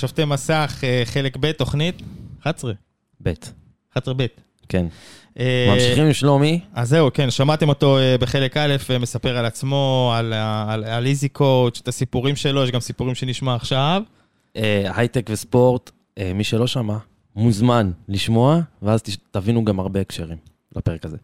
שופטי מסך, אה, חלק ב', תוכנית 11. ב'. 11 ב'. אה, כן. ממשיכים עם שלומי. אז זהו, כן, שמעתם אותו בחלק א', אה, מספר על עצמו, על איזי קואוץ', את הסיפורים שלו, יש גם סיפורים שנשמע עכשיו. אה, הייטק וספורט, אה, מי שלא שמע, מוזמן לשמוע, ואז תבינו גם הרבה הקשרים לפרק הזה.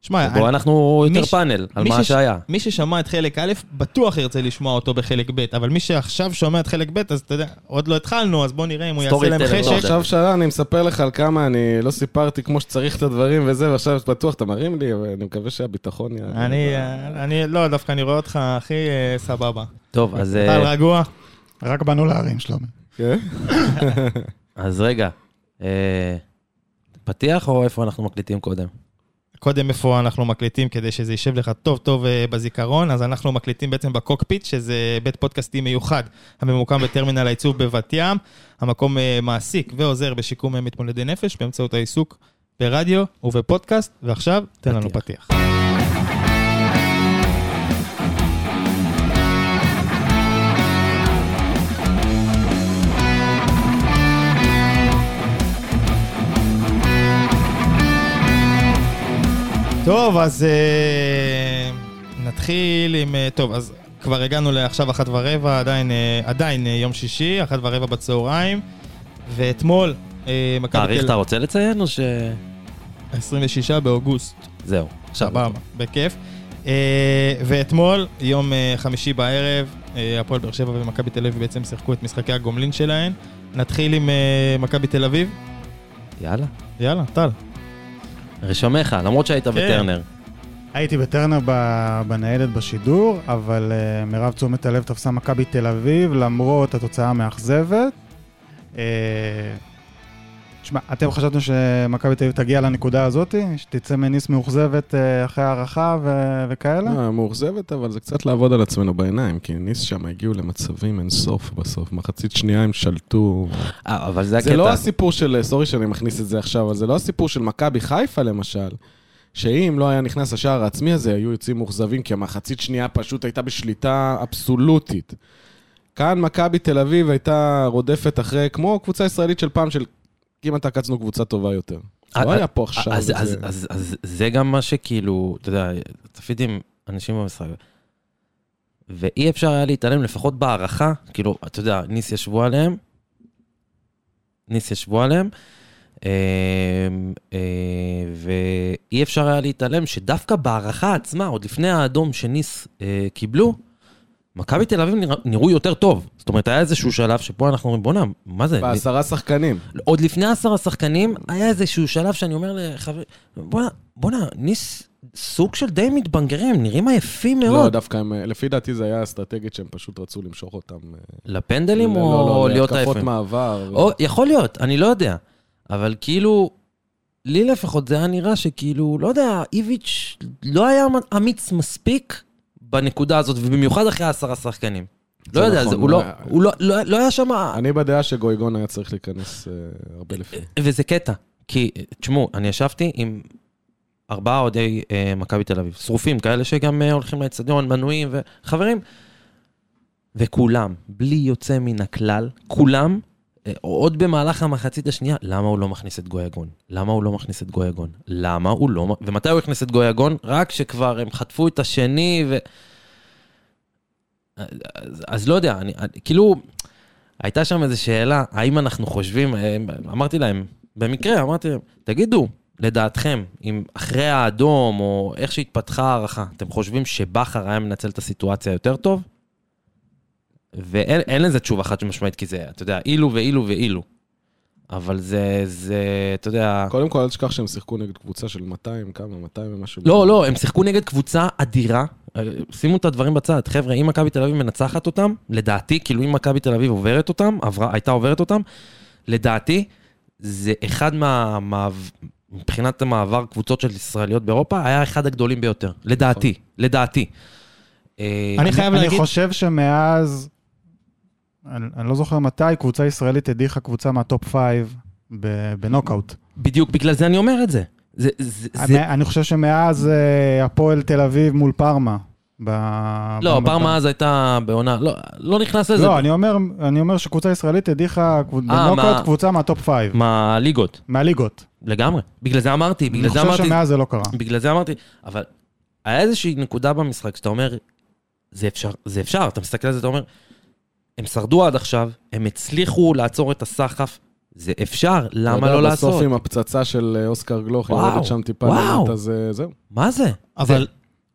שמע, בואו אנחנו יותר פאנל על מה שהיה. אה, מי ששמע את חלק א', בטוח ירצה לשמוע אותו בחלק ב', אבל מי שעכשיו שומע את חלק ב', אז אתה יודע, עוד לא התחלנו, אז בואו נראה אם הוא יעשה להם לא חשק. לא, עכשיו שרה, אני מספר לך על כמה אני לא סיפרתי כמו שצריך את הדברים וזה, ועכשיו בטוח אתה מרים לי, ואני מקווה שהביטחון יהיה... אני, לא, דווקא אני רואה אותך הכי אה, סבבה. טוב, אז... אה, אתה רגוע? רק באנו להרים, שלומי. כן? אז רגע, אה, פתיח או איפה אנחנו מקליטים קודם? קודם איפה אנחנו מקליטים כדי שזה יישב לך טוב טוב אה, בזיכרון, אז אנחנו מקליטים בעצם בקוקפיט, שזה בית פודקאסטים מיוחד הממוקם בטרמינל העיצוב בבת ים. המקום אה, מעסיק ועוזר בשיקום אה, מתמודדי נפש באמצעות העיסוק ברדיו ובפודקאסט, ועכשיו תן לנו פתיח. טוב, אז uh, נתחיל עם... Uh, טוב, אז כבר הגענו לעכשיו אחת ורבע, עדיין, uh, עדיין uh, יום שישי, אחת ורבע בצהריים, ואתמול... Uh, תאריך אתה רוצה לציין או ש... 26 באוגוסט. זהו. סבבה, בכיף. Uh, ואתמול, יום uh, חמישי בערב, uh, הפועל באר שבע ומכבי תל אביב בעצם שיחקו את משחקי הגומלין שלהן. נתחיל עם uh, מכבי תל אביב. יאללה. יאללה, טל. רשמך, למרות שהיית כן. בטרנר. הייתי בטרנר בניידת בשידור, אבל uh, מירב תשומת הלב תפסה מכבי תל אביב, למרות התוצאה המאכזבת. Uh, תשמע, אתם חשבתם שמכבי תל אביב תגיע לנקודה הזאת? שתצא מניס מאוכזבת uh, אחרי הערכה ו- וכאלה? לא, מאוכזבת, אבל זה קצת לעבוד על עצמנו בעיניים, כי ניס שם הגיעו למצבים אין סוף בסוף. מחצית שנייה הם שלטו. 아, אה, אבל זה הקטע. זה לא הסיפור של, סורי שאני מכניס את זה עכשיו, אבל זה לא הסיפור של מכבי חיפה למשל. שאם לא היה נכנס השער העצמי הזה, היו יוצאים מאוכזבים, כי המחצית שנייה פשוט הייתה בשליטה אבסולוטית. כאן מכבי תל אביב הייתה רודפת אחרי, כמו קבוצה ישראלית של פעם, של כמעט עקצנו קבוצה טובה יותר. לא היה פה עכשיו. אה, אז זה גם מה שכאילו, אתה יודע, צפיתי עם אנשים במשחק, ואי אפשר היה להתעלם, לפחות בהערכה, כאילו, אתה יודע, ניס ישבו עליהם, ניס ישבו עליהם, אה, ואי אפשר היה להתעלם שדווקא בהערכה עצמה, עוד לפני האדום שניס אה, קיבלו, מכבי תל אביב נראו יותר טוב. זאת אומרת, היה איזשהו שלב שפה אנחנו אומרים, בואנה, מה זה? בעשרה שחקנים. עוד לפני עשרה שחקנים, היה איזשהו שלב שאני אומר לחברים, בואנה, בואנה, ניס... סוג של די מתבנגרים, נראים עייפים מאוד. לא, דווקא הם, לפי דעתי זה היה אסטרטגית שהם פשוט רצו למשוך אותם. אה, לפנדלים ל- או לא, לא, להיות עייפים? להתקפות מעבר. או, יכול להיות, אני לא יודע. אבל כאילו, לי לפחות זה היה נראה שכאילו, לא יודע, איביץ' לא היה אמיץ מספיק בנקודה הזאת, ובמיוחד אחרי עשרה שחקנים. לא יודע, נכון, זה, הוא, לא, היה... הוא לא, לא, לא היה שם... אני בדעה שגויגון היה צריך להיכנס uh, הרבה לפני. וזה קטע, כי, תשמעו, אני ישבתי עם ארבעה אוהדי uh, מכבי תל אביב, שרופים, כאלה שגם uh, הולכים לאצטדיון, מנויים וחברים, וכולם, בלי יוצא מן הכלל, כולם, uh, עוד במהלך המחצית השנייה, למה הוא לא מכניס את גויגון? למה הוא לא מכניס את גויגון? למה הוא לא... ומתי הוא הכניס את גויגון? רק כשכבר הם חטפו את השני ו... אז, אז, אז לא יודע, אני, אני, כאילו, הייתה שם איזו שאלה, האם אנחנו חושבים, אה, אמרתי להם, במקרה, אמרתי להם, תגידו, לדעתכם, אם אחרי האדום, או איך שהתפתחה ההערכה, אתם חושבים שבכר היה מנצל את הסיטואציה יותר טוב? ואין לזה תשובה חד משמעית, כי זה, אתה יודע, אילו ואילו ואילו. אבל זה, זה, אתה יודע... קודם כל, אל תשכח שהם שיחקו נגד קבוצה של 200, כמה, 200 ומשהו. לא, לא, הם שיחקו נגד קבוצה אדירה. שימו את הדברים בצד. חבר'ה, אם מכבי תל אביב מנצחת אותם, לדעתי, כאילו אם מכבי תל אביב עוברת אותם, עברה, הייתה עוברת אותם, לדעתי, זה אחד מה... מה מבחינת המעבר קבוצות של ישראליות באירופה, היה אחד הגדולים ביותר. לדעתי, לדעתי. נכון. אה, אני חייב להגיד... אני חושב שמאז אני, אני לא זוכר מתי, קבוצה ישראלית הדיחה קבוצה מהטופ 5 בנוקאוט. בדיוק בגלל זה אה, אני אומר את זה. זה, זה, אני, זה... אני חושב שמאז הפועל תל אביב מול פארמה, ב- לא, במרכז. פרמה אז הייתה בעונה, לא, לא נכנס לזה. לא, אני אומר, אני אומר שקבוצה ישראלית הדיחה קבוצ- אה, בנוקאוט מה- קבוצה מהטופ פייב, מהליגות, מהליגות. לגמרי. בגלל זה אמרתי, בגלל אני זה חושב אמרתי, שמאז זה לא קרה. נכון. בגלל זה אמרתי, אבל היה איזושהי נקודה במשחק שאתה אומר, זה אפשר, זה אפשר, אתה מסתכל על זה, אתה אומר, הם שרדו עד עכשיו, הם הצליחו לעצור את הסחף, זה אפשר, למה לא בסוף לעשות? עם הפצצה של אה, אוסקר גלוך, וואו, יורדת שם טיפה וואו. למטה, אז אה, זהו. מה זה? אבל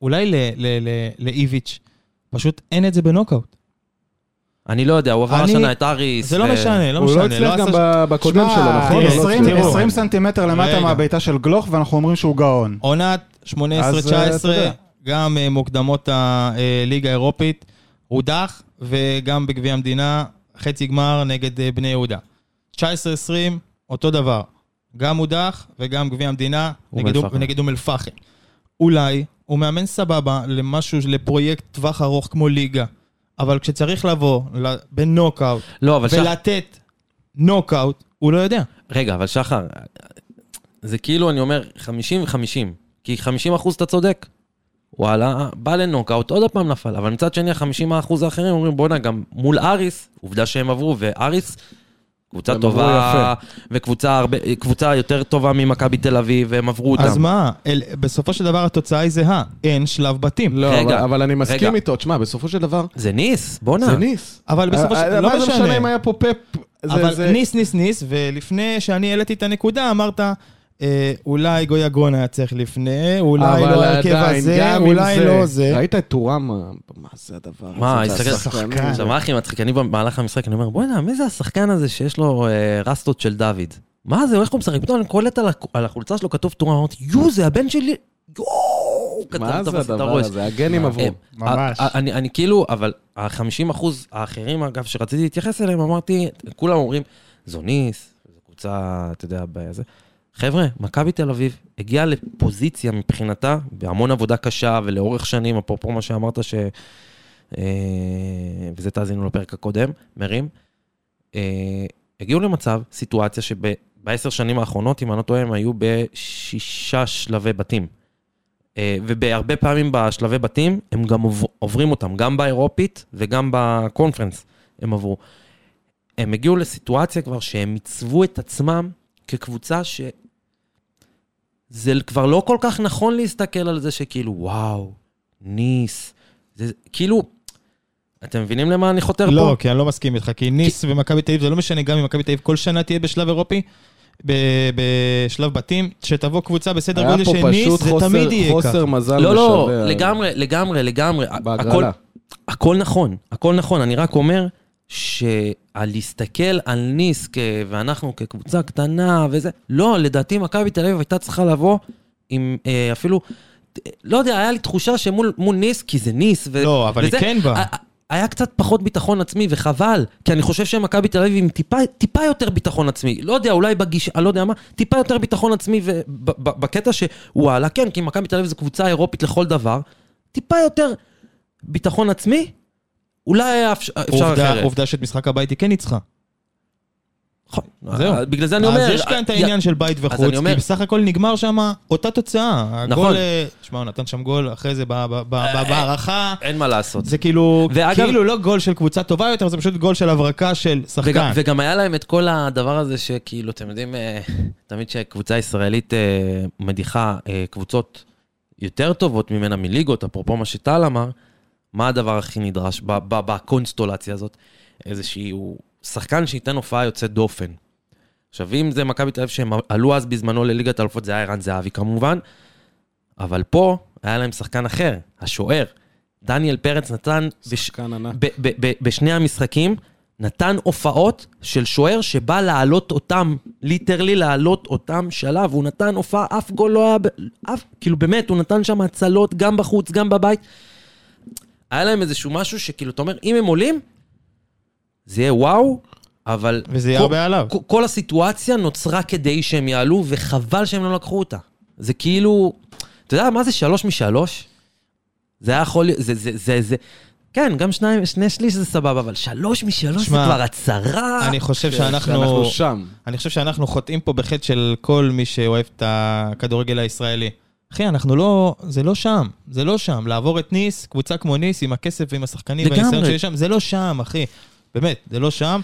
אולי ל- ל- ל- לאיביץ', פשוט אין את זה בנוקאוט. אני לא יודע, הוא עבר אני- השנה את אריס. זה לא ו- משנה, לא הוא לא משנה. הצליח גם עשה- ב- בקודם שמע, שלו, נכון? הוא לא 20 הצליח. תראו. 20 סנטימטר למטה רגע. מהבעיטה של גלוך, ואנחנו אומרים שהוא גאון. עונת 18-19, אז, אה, אתה יודע. גם אה, מוקדמות הליגה האירופית, הודח, וגם בגביע המדינה, חצי גמר נגד אה, בני יהודה. 19-20, אותו דבר. גם הודח וגם גביע המדינה אום נגד אום- אל-פחם. נגד אום אל-פחם. אולי הוא מאמן סבבה למשהו, לפרויקט טווח ארוך כמו ליגה, אבל כשצריך לבוא ל- בנוקאוט לא, אבל שחר, ולתת נוקאוט, הוא לא יודע. רגע, אבל שחר, זה כאילו, אני אומר, 50 ו-50, כי 50 אחוז אתה צודק. וואלה, בא לנוקאוט, עוד פעם נפל, אבל מצד שני, ה-50 האחוז האחרים אומרים, בואנה, גם מול אריס, עובדה שהם עברו, ואריס, קבוצה הם טובה, וקבוצה הרבה, קבוצה יותר טובה ממכבי תל אביב, והם עברו אותם. אז מה, אל, בסופו של דבר התוצאה היא זהה, אין שלב בתים. לא, רגע, אבל- אבל אני מסכים רגע. איתו, תשמע, בסופו של דבר, זה ניס, בואנה. זה ניס. אבל בסופו של אה, דבר, אה, לא מה זה משנה אם משנה. היה פה פאפ? זה- אבל זה- ניס, ניס, ניס, ולפני שאני העליתי את הנקודה, אמרת, אה, אולי גויגון היה צריך לפני, אולי אבל לא ההרכב עדיין, הזה, גם עם אולי לא זה. ראית את טורם? מה זה הדבר הזה? מה, זה הסתכל- השחקנים. שחקן. עכשיו, מה הכי מצחיק? אני במהלך המשחק, אני אומר, בוא'נה, מי זה השחקן הזה שיש לו אה, רסטות של דוד? מה זה, איך הוא משחק? פתאום אני קולט על הק- על החולצה שלו כתוב תורה, אמרתי, יו, זה הבן שלי, יואו, כתב מה זה תפס את הדבר הראש. הזה? הגנים עברו. אה, ממש. אה, אה, אני אני כאילו, אבל ה-50 אחוז האחרים, אגב, שרציתי להתייחס אליהם, אמרתי, כולם אומרים, זו ניס, זו קבוצה, אתה יודע, בזה. חבר'ה, מכבי תל אביב הגיעה לפוזיציה מבחינתה, בהמון עבודה קשה ולאורך שנים, אפרופו מה שאמרת, ש... אה, וזה תאזינו לפרק הקודם, מרים, אה, הגיעו למצב, סיטואציה שבעשר שנים האחרונות, אם אני לא טועה, הם היו בשישה שלבי בתים. אה, ובהרבה פעמים בשלבי בתים, הם גם עוב- עוברים אותם, גם באירופית וגם בקונפרנס הם עברו. הם הגיעו לסיטואציה כבר שהם עיצבו את עצמם כקבוצה ש... זה כבר לא כל כך נכון להסתכל על זה שכאילו, וואו, ניס. זה כאילו, אתם מבינים למה אני חותר פה? לא, כי אני לא מסכים איתך, כי ניס ומכבי תל אביב, זה לא משנה גם אם מכבי תל אביב כל שנה תהיה בשלב אירופי, ב- בשלב בתים, שתבוא קבוצה אה, בסדר היה גודל פה של ניס, פשוט זה חוסר- תמיד יהיה ככה. חוסר מזל משווע. לא, לא, לגמרי, לגמרי, לגמרי. הכל, בהגרלה. הכל נכון, הכל נכון. אני רק אומר שלהסתכל על ניס כ... ואנחנו כקבוצה קטנה וזה, לא, לדעתי מכבי תל אביב הייתה צריכה לבוא עם אה, אפילו, אה, לא יודע, היה לי תחושה שמול מול ניס, כי זה ניס. ו... לא, אבל היא וזה, אה, כן באה. ה- ה- היה קצת פחות ביטחון עצמי, וחבל, כי אני חושב שמכבי תל אביב עם טיפה, טיפה יותר ביטחון עצמי. לא יודע, אולי בגישה, לא יודע מה, טיפה יותר ביטחון עצמי, ובקטע שוואלה, כן, כי מכבי תל אביב זו קבוצה אירופית לכל דבר, טיפה יותר ביטחון עצמי, אולי היה אפשר, אפשר עובדה- אחרת. עובדה שאת משחק הבית היא כן ניצחה. נכון. זהו. בגלל זה אני אומר... אה, אז יש כאן את העניין של בית אני וחוץ, כי אומר- בסך הכל נגמר שם אותה תוצאה. נכון. הגול, אה, שמע, הוא נתן שם גול, אחרי זה ב- ב- ב- ב- בהערכה. אין מה לעשות. זה כאילו, אה, ואגב- כאילו לא גול של קבוצה טובה יותר, זה פשוט גול של הברקה של שחקן. וגם, וגם היה להם את כל הדבר הזה שכאילו, אתם יודעים, אה, תמיד כשקבוצה ישראלית אה, מדיחה אה, קבוצות יותר טובות ממנה מליגות, אפרופו מה שטל אמר, מה הדבר הכי נדרש ב- ב- בקונסטולציה הזאת? איזשהו שחקן שייתן הופעה יוצאת דופן. עכשיו, אם זה מכבי תל אביב שהם עלו אז בזמנו לליגת האלופות, זה היה ערן זהבי כמובן, אבל פה היה להם שחקן אחר, השוער. דניאל פרץ נתן בש- שחקן ענק. ב- ב- ב- בשני המשחקים, נתן הופעות של שוער שבא להעלות אותם, ליטרלי להעלות אותם שלב, הוא נתן הופעה, אף גול לא היה, ב- אף, כאילו באמת, הוא נתן שם הצלות גם בחוץ, גם בבית. היה להם איזשהו משהו שכאילו, אתה אומר, אם הם עולים, זה יהיה וואו, אבל... וזה יהיה כל- הרבה עליו. כל- כל הסיטואציה נוצרה כדי שהם יעלו, וחבל שהם לא לקחו אותה. זה כאילו, אתה יודע מה זה שלוש משלוש? זה היה יכול להיות, זה, זה, זה, זה, כן, גם שניים, שני שליש זה סבבה, אבל שלוש משלוש שמע, זה כבר הצהרה. אני חושב אנחנו שאנחנו, שם. אני חושב שאנחנו חוטאים פה בחטא של כל מי שאוהב את הכדורגל הישראלי. אחי, אנחנו לא, זה לא שם, זה לא שם. לעבור את ניס, קבוצה כמו ניס, עם הכסף ועם השחקנים, לגמרי. והניסיון שיש שם, זה לא שם, אחי. באמת, זה לא שם.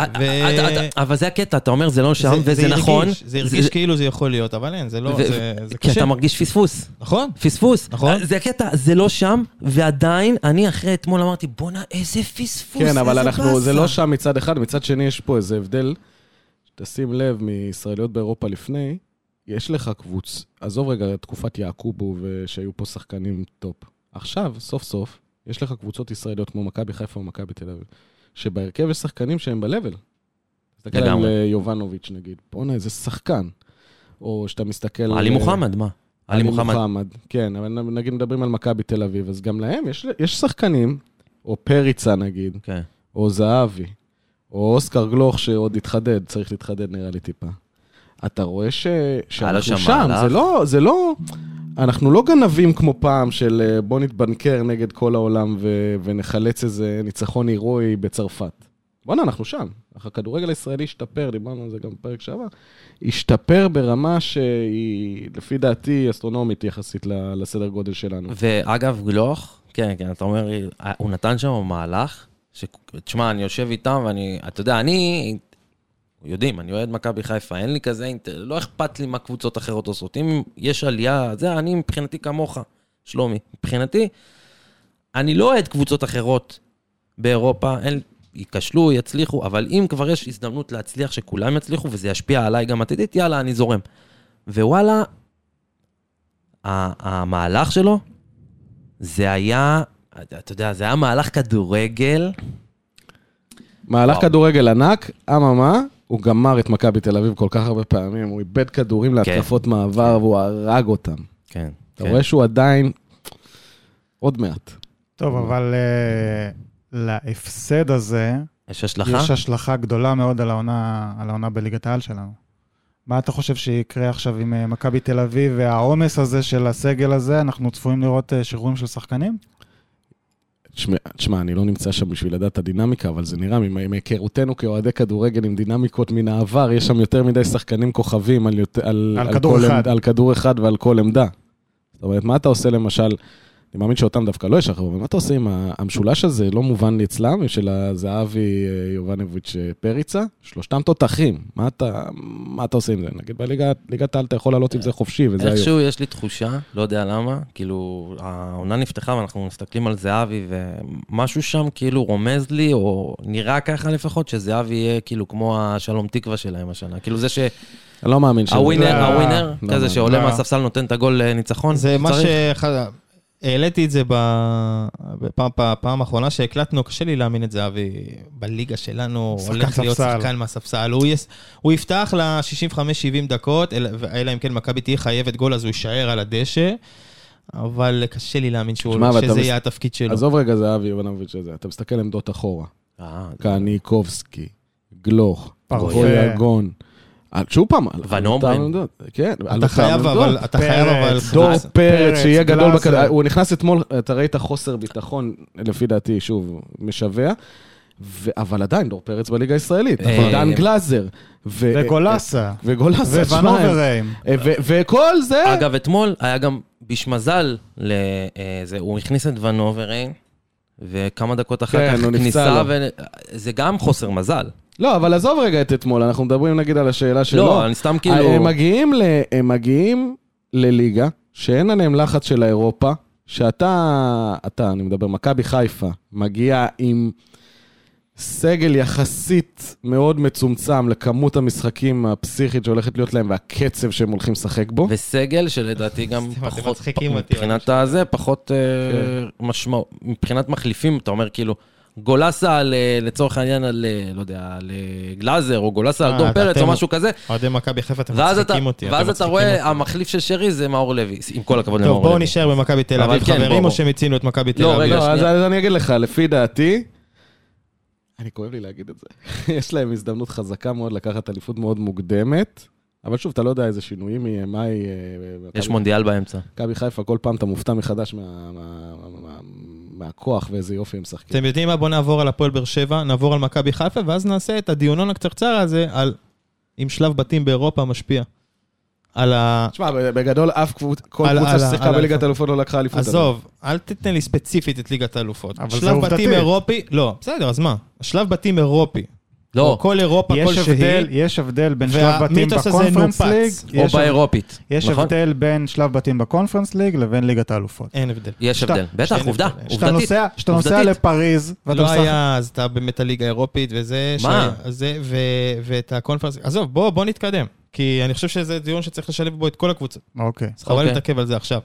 אה, ו- אבל זה הקטע, אתה אומר זה לא שם, זה וזה הרגיש, נכון. זה הרגיש כאילו זה יכול להיות, אבל אין, זה לא, ו- זה זה כי קשה. אתה מרגיש פספוס. נכון? פספוס. נכון. זה הקטע, זה לא שם, ועדיין, אני אחרי אתמול אמרתי, בואנה, איזה פספוס, כן, אבל איזה אנחנו, זה באסה." לא שם מצד אחד, מצד שני יש פה איזה הבדל. תשים לב, מישראליות באירופה לפני, יש לך קבוץ, עזוב רגע את תקופת יעקובו ושהיו פה שחקנים טופ. עכשיו, סוף סוף, יש לך קבוצות ישראליות כמו מכבי חיפה ומכבי תל אביב, שבהרכב יש שחקנים שהם ב-level. תסתכל על לגמרי. אה, יובנוביץ' נגיד, בואנה, איזה שחקן. או שאתה מסתכל... עלי אה, מוחמד, מה? עלי מוחמד. כן, אבל נגיד מדברים על מכבי תל אביב, אז גם להם יש, יש שחקנים, או פריצה נגיד, כן. או זהבי, או אוסקר גלוך שעוד התחדד, צריך להתחדד נראה לי טיפה. אתה רואה ש... שאנחנו שם שם, מהלך. זה לא, זה לא... אנחנו לא גנבים כמו פעם של אה, בוא נתבנקר נגד כל העולם ו... ונחלץ איזה ניצחון הירואי בצרפת. בואנה, אנחנו שם. אך הכדורגל הישראלי השתפר, דיברנו על זה גם בפרק שעבר, השתפר ברמה שהיא, לפי דעתי, אסטרונומית יחסית ל- לסדר גודל שלנו. ואגב, גלוך, כן, כן, אתה אומר, הוא נתן שם מהלך, ש... תשמע, אני יושב איתם ואני, אתה יודע, אני, יודעים, אני אוהד מכבי חיפה, אין לי כזה, אינט- לא אכפת לי מה קבוצות אחרות עושות. אם יש עלייה, זה, אני מבחינתי כמוך, שלומי. מבחינתי, אני לא אוהד קבוצות אחרות באירופה, אין... ייכשלו, יצליחו, אבל אם כבר יש הזדמנות להצליח, שכולם יצליחו, וזה ישפיע עליי גם עתידית, יאללה, אני זורם. ווואלה, ה- המהלך שלו, זה היה, אתה אתה יודע, זה היה מהלך כדורגל. מהלך וואו. כדורגל ענק, אממה, הוא גמר את מכבי תל אביב כל כך הרבה פעמים, הוא איבד כדורים להתקפות מעבר והוא הרג אותם. כן. אתה רואה שהוא עדיין... עוד מעט. טוב, אבל אה, להפסד הזה, יש השלכה? יש השלכה גדולה מאוד על העונה, על העונה בליגת העל שלנו. מה אתה חושב שיקרה עכשיו עם אה, מכבי תל אביב והעומס הזה של הסגל הזה? אנחנו צפויים לראות אה, שחרורים של שחקנים? תשמע, תשמע, אני לא נמצא שם בשביל לדעת את הדינמיקה, אבל זה נראה, ממה- מהיכרותנו כאוהדי כדורגל עם דינמיקות מן העבר, יש שם יותר מדי שחקנים כוכבים על, יותר, על, על כדור כל אחד. עמד, על כדור אחד ועל כל עמדה. זאת אומרת, מה אתה עושה למשל, אני מאמין שאותם דווקא לא ישחררו, אבל מה אתה עושה עם ה- המשולש הזה, לא מובן לי אצלם, של הזהבי, אה, יובנוביץ', אה, פריצה? שלושתם תותחים, מה אתה, מה אתה עושה עם זה? נגיד בליגת ליגת העל אתה יכול לעלות עם זה חופשי, וזה היום. איכשהו יש לי תחושה, לא יודע למה, כאילו, העונה נפתחה ואנחנו מסתכלים על זהבי, ומשהו שם כאילו רומז לי, או נראה ככה לפחות, שזהבי יהיה כאילו כמו השלום תקווה שלהם השנה. כאילו זה אני לא מאמין שזה... שהווינר, לא, הווינר, לא, כזה לא. שעולה לא. מהספסל נותן את הגול אה, ניצחון. זה מה ש... שצריך. העליתי את זה ב- בפעם בפעם האחרונה שהקלטנו, קשה לי להאמין את זה, אבי. בליגה שלנו שחקן הולך להיות ספסל. שחקן מהספסל. הוא יס- הוא יפתח ל-65-70 דקות, אלא- אלא אם כן מכבי תהיה חייבת גול, אז הוא יישאר על הדשא. אבל קשה לי להאמין שהוא- תשמע, אבל אתה שזה מס- יהיה התפקיד שלו. עזוב רגע זהבי, יובנוביץ' הזה, אתה מסתכל עמדות אחורה. אה, כן. קניקובסקי, גלוך, פרפה. גוליאגון. על- שוב פעם, על- על ונוברן. אותן עמדות. כן, על אתה אותן חייב עמדות. אבל, אתה חייב אבל... פרץ, דור חז- פרץ, שיהיה גדול גלאזר. בכדור. הוא נכנס אתמול, אתה ראית חוסר ביטחון, לפי דעתי, שוב, משווע. ו- אבל עדיין, דור פרץ בליגה הישראלית. נכון. אה, דן גלאזר. ו- אה, וגולסה, וגולסה, שמע, הם- ווונובריים. אה, ו- וכל זה... אגב, אתמול היה גם בשמזל, ל... אה, זה, הוא הכניס את ונוברן, וכמה דקות אחר כן, כך הוא נפצע כניסה, לו. ו... זה גם חוסר מזל. לא, אבל עזוב רגע את אתמול, אנחנו מדברים נגיד על השאלה שלו. לא, אני סתם כאילו... אה, הם מגיעים, ל, הם מגיעים לליגה שאין עליהם לחץ של האירופה, שאתה, אתה, אני מדבר, מכבי חיפה, מגיע עם סגל יחסית מאוד מצומצם לכמות המשחקים הפסיכית שהולכת להיות להם והקצב שהם הולכים לשחק בו. וסגל שלדעתי גם אתם פחות, מצחיקים אותי, מבחינת הזה, פחות כן. משמעות, מבחינת מחליפים, אתה אומר כאילו, גולסה על, אה, לצורך העניין, על, אה, לא יודע, על אה, גלאזר, או גולסה על אה, דור אתם- פרץ, או משהו כזה, אוהדי מכבי חיפה, אתם ואז אתה, מצחיקים אותי. ואז אתם אתה מצחיקים רואה, אותי. המחליף של שרי זה מאור לוי, עם כל הכבוד טוב, למאור לוי. בואו נישאר במכבי תל אבל אביב, כן, בוא, חברים, בוא. או שמיצינו את מכבי תל לא, אביב? רגע, לא, אז, שנייה. אז אני אגיד לך, לפי דעתי, אני כואב לי להגיד את זה, יש להם הזדמנות חזקה מאוד לקחת אליפות מאוד מוקדמת, אבל שוב, אתה לא יודע איזה שינויים יהיה, מה יהיה... יש מכבי מונדיאל באמצע. מכבי חיפה, כל פעם אתה מופתע מחדש מה- מה- מה- מהכוח ואיזה יופי הם משחקים. אתם יודעים מה? בואו נעבור על הפועל באר שבע, נעבור על מכבי חיפה, ואז נעשה את הדיונון הקצרצר הזה על אם שלב בתים באירופה משפיע על ה... תשמע, בגדול אף קבוצה, כל על- על- קבוצה על ששיחקה האליפות. בליגת האלופות לא לקחה אליפות. עזוב, אל תתן לי ספציפית את ליגת האלופות. אבל זה שלב בתים עובדתית. אירופי, לא, בסדר, אז מה? שלב בתים אירופי. או לא, כל אירופה יש כלשהי. הבדל, יש הבדל בין שלב בתים והמיתוס הזה בקונפרנס נופץ. ליג, או או יש- באירופית, יש נכון? הבדל בין שלב בתים בקונפרנס ליג לבין ליגת האלופות. אין הבדל. יש שאתה- הבדל, בטח, שאין עובדה, הבדל. שאתה כשאתה עובדתית. נוסע- כשאתה נוסע עובדתית. לפריז, ואתה לא משחק... היה, אז אתה באמת הליגה האירופית וזה... מה? שהיה- זה, ו- ואת הקונפרנס... עזוב, בוא, בוא נתקדם. כי אני חושב שזה דיון שצריך לשלב בו את כל הקבוצות. אוקיי. אז חבל אוקיי. להתעכב על זה עכשיו.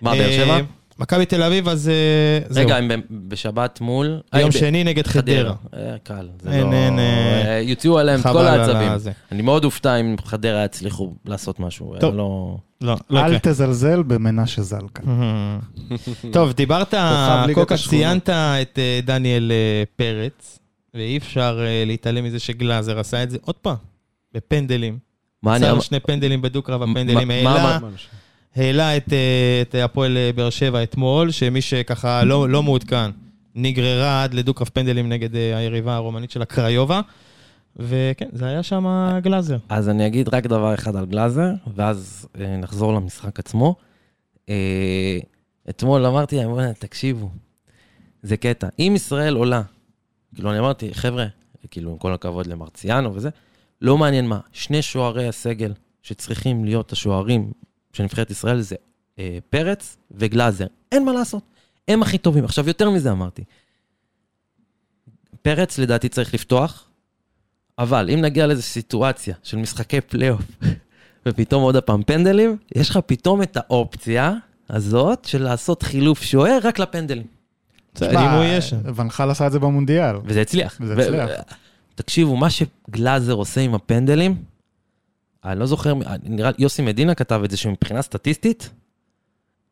מה, באר אה, שבע? מכבי תל אביב, אז אה, זהו. רגע, הם ב- בשבת מול... יום אה, ב- שני נגד חדרה. אה, קל, זה אין, לא... אין, אה, אה, יוציאו עליהם את חבל כל על העצבים. הזה. אני מאוד אופתע אם חדרה יצליחו לעשות משהו. טוב. טוב. לא... לא, לא אל יקרה. תזלזל במנשה זלקה. טוב, דיברת, ליגת קוקה, השכונות. ציינת את אה, דניאל אה, פרץ, ואי אפשר אה, להתעלם מזה שגלאזר עשה את זה עוד פעם, בפנדלים. מה אני עצר אמר? שני פנדלים בדו-קרב, הפנדלים מה- העלה, מה העלה את, אה, את הפועל אה, באר שבע אתמול, שמי שככה לא לא מעודכן, נגררה עד לדו-קרב פנדלים נגד אה, היריבה הרומנית שלה, קריובה. וכן, זה היה שם גלאזר. אז אני אגיד רק דבר אחד על גלאזר, ואז אה, נחזור למשחק עצמו. אה, אתמול אמרתי להם, "בוא'נה, תקשיבו, זה קטע. אם ישראל עולה, כאילו, אני אמרתי, חבר'ה, כאילו, עם כל הכבוד למרציאנו וזה, לא מעניין מה, שני שוערי הסגל שצריכים להיות השוערים של נבחרת ישראל זה אה, פרץ וגלאזר. אין מה לעשות, הם הכי טובים. עכשיו, יותר מזה אמרתי. פרץ לדעתי צריך לפתוח, אבל אם נגיע לאיזו סיטואציה של משחקי פלייאוף, ופתאום עוד הפעם פנדלים, יש לך פתאום את האופציה הזאת של לעשות חילוף שוער רק לפנדלים. בסדר, אם הוא יהיה שם. ונחל עשה את זה במונדיאל. וזה הצליח. וזה הצליח. ו- תקשיבו, מה שגלאזר עושה עם הפנדלים, אני לא זוכר, מ- אני- נראה לי יוסי מדינה כתב את זה, שמבחינה סטטיסטית,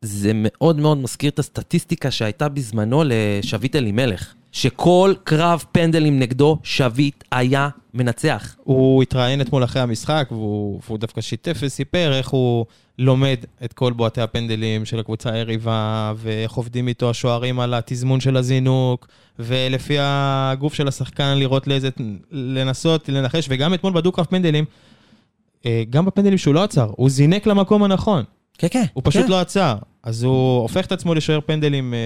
זה מאוד מאוד מזכיר את הסטטיסטיקה שהייתה בזמנו לשביט אלימלך, שכל קרב פנדלים נגדו, שביט היה מנצח. הוא התראיין אתמול אחרי המשחק, והוא, והוא דווקא שיתף וסיפר איך הוא לומד את כל בועטי הפנדלים של הקבוצה היריבה, ואיך עובדים איתו השוערים על התזמון של הזינוק, ולפי הגוף של השחקן לראות לאיזה... לנסות, לנחש, וגם אתמול בדו-קרב פנדלים, אה, גם בפנדלים שהוא לא עצר, הוא זינק למקום הנכון, כן, כן. הוא פשוט כן. לא עצר. אז הוא הופך את עצמו לשוער פנדלים אה,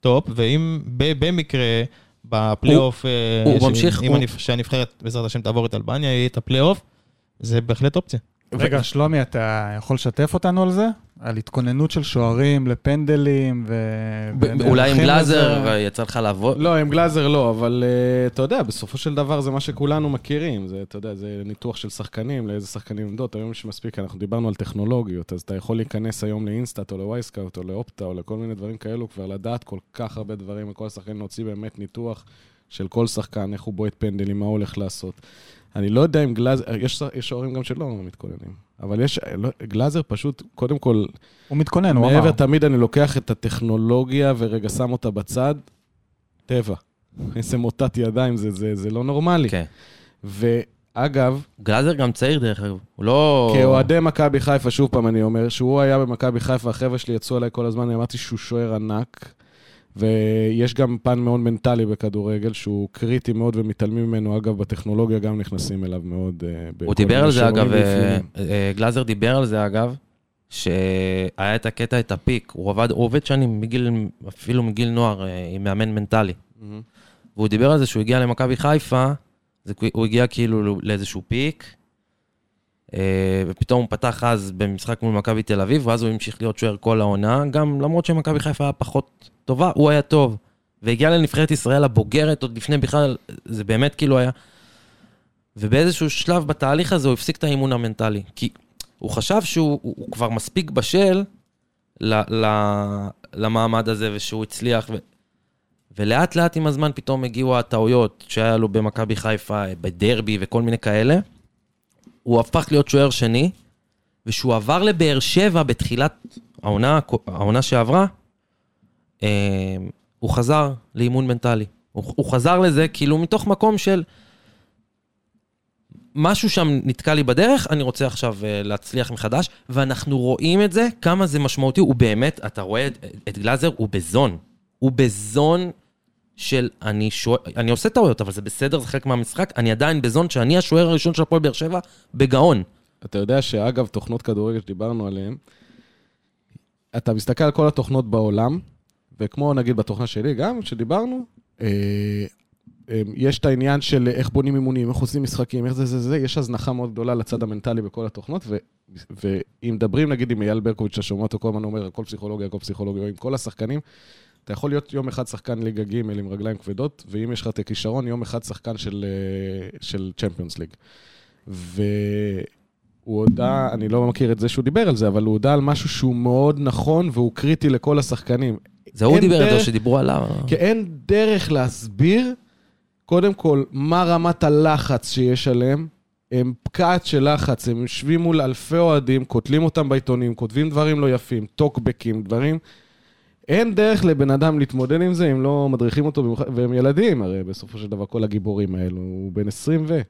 טופ, ואם ב- במקרה... בפלייאוף, אה, הוא ש- ממשיך, אם הוא- הנבח- שהנבחרת בעזרת השם תעבור את אלבניה, יהיה את הפלייאוף, זה בהחלט אופציה. רגע, שלומי, אתה יכול לשתף אותנו על זה? על התכוננות של שוערים לפנדלים ו... ב- ונערכים אולי עם לזה? גלאזר אה, יצא לך לעבוד? לא, עם גלאזר לא, אבל אה, אתה יודע, בסופו של דבר זה מה שכולנו מכירים. זה, אתה יודע, זה ניתוח של שחקנים, לאיזה שחקנים עמדות. היום יש מספיק, אנחנו דיברנו על טכנולוגיות, אז אתה יכול להיכנס היום לאינסטאט או לווייסקאוט או לאופטה או לכל מיני דברים כאלו, כבר לדעת כל כך הרבה דברים על כל השחקנים, להוציא באמת ניתוח של כל שחקן, איך הוא בועט פנדלים, מה הוא הולך לעשות. אני לא יודע אם גלאזר, יש יש שוערים גם שלא מתכוננים, אבל יש, לא- גלאזר פשוט, קודם כל, הוא מתכונן, הוא אמר. מעבר תמיד אני לוקח את הטכנולוגיה ורגע שם אותה בצד, טבע. איזה מוטת ידיים, זה, זה, זה לא נורמלי. כן. ואגב, גלאזר גם צעיר דרך אגב, הוא לא... כאוהדי מכבי חיפה, שוב פעם אני אומר, שהוא היה במכבי חיפה, החבר'ה שלי יצאו עליי כל הזמן, אני אמרתי שהוא שוער ענק, ויש גם פן מאוד מנטלי בכדורגל, שהוא קריטי מאוד ומתעלמים ממנו. אגב, בטכנולוגיה גם נכנסים אליו מאוד. אה, בכל הוא דיבר מיני על זה שינויים אגב, אה, ואפיונים. אה, גלאזר דיבר על זה אגב, שהיה את הקטע, את הפיק, הוא עבד, הוא עובד שנים מגיל, אפילו מגיל נוער, אה, עם מאמן מנטלי. מהמם. והוא דיבר על זה שהוא הגיע למכבי חיפה, זה, כ- הוא הגיע כאילו לאיזשהו פיק, אה, ופתאום הוא פתח אז במשחק מול מכבי תל אביב, ואז הוא המשיך להיות שוער כל העונה, גם למרות שמכבי חיפה היה פחות טובה, הוא היה טוב. והגיע לנבחרת ישראל הבוגרת עוד לפני בכלל, זה באמת כאילו היה... ובאיזשהו שלב בתהליך הזה הוא הפסיק את האימון המנטלי, כי הוא חשב שהוא הוא, הוא כבר מספיק בשל ל, ל, למעמד הזה ושהוא הצליח. ו... ולאט לאט עם הזמן פתאום הגיעו הטעויות שהיה לו במכבי חיפה, בדרבי וכל מיני כאלה. הוא הפך להיות שוער שני, וכשהוא עבר לבאר שבע בתחילת העונה, העונה שעברה, אה, הוא חזר לאימון מנטלי. הוא, הוא חזר לזה כאילו מתוך מקום של משהו שם נתקע לי בדרך, אני רוצה עכשיו אה, להצליח מחדש, ואנחנו רואים את זה, כמה זה משמעותי. הוא באמת, אתה רואה את, את גלאזר, הוא בזון. הוא בזון של אני שוער, אני עושה טעויות, אבל זה בסדר, זה חלק מהמשחק, אני עדיין בזון שאני השוער הראשון של הפועל באר שבע בגאון. אתה יודע שאגב, תוכנות כדורגל שדיברנו עליהן, אתה מסתכל על כל התוכנות בעולם, וכמו נגיד בתוכנה שלי גם, שדיברנו, אה, אה, יש את העניין של איך בונים אימונים, איך עושים משחקים, איך זה זה זה, יש הזנחה מאוד גדולה לצד המנטלי בכל התוכנות, ו- ואם מדברים נגיד עם אייל ברקוביץ', שאתה שומע אותו כל הזמן אומר, הכל פסיכולוגיה, הכל פסיכולוגיה, או עם כל השחקנים, אתה יכול להיות יום אחד שחקן ליגה ג' עם רגליים כבדות, ואם יש לך את הכישרון, יום אחד שחקן של, אה, של צ'מפיונס ליג. והוא הודה, אני לא מכיר את זה שהוא דיבר על זה, אבל הוא הודה על משהו שהוא מאוד נכון והוא קריטי לכל השחקנים. זה הוא אין דיבר על זה דרך- שדיברו עליו. כי אין דרך להסביר, קודם כל, מה רמת הלחץ שיש עליהם. הם פקעת של לחץ, הם יושבים מול אלפי אוהדים, קוטלים אותם בעיתונים, כותבים דברים לא יפים, טוקבקים, דברים. אין דרך לבן אדם להתמודד עם זה אם לא מדריכים אותו, במיוחד- והם ילדים, הרי בסופו של דבר כל הגיבורים האלו, הוא בן 20 ו...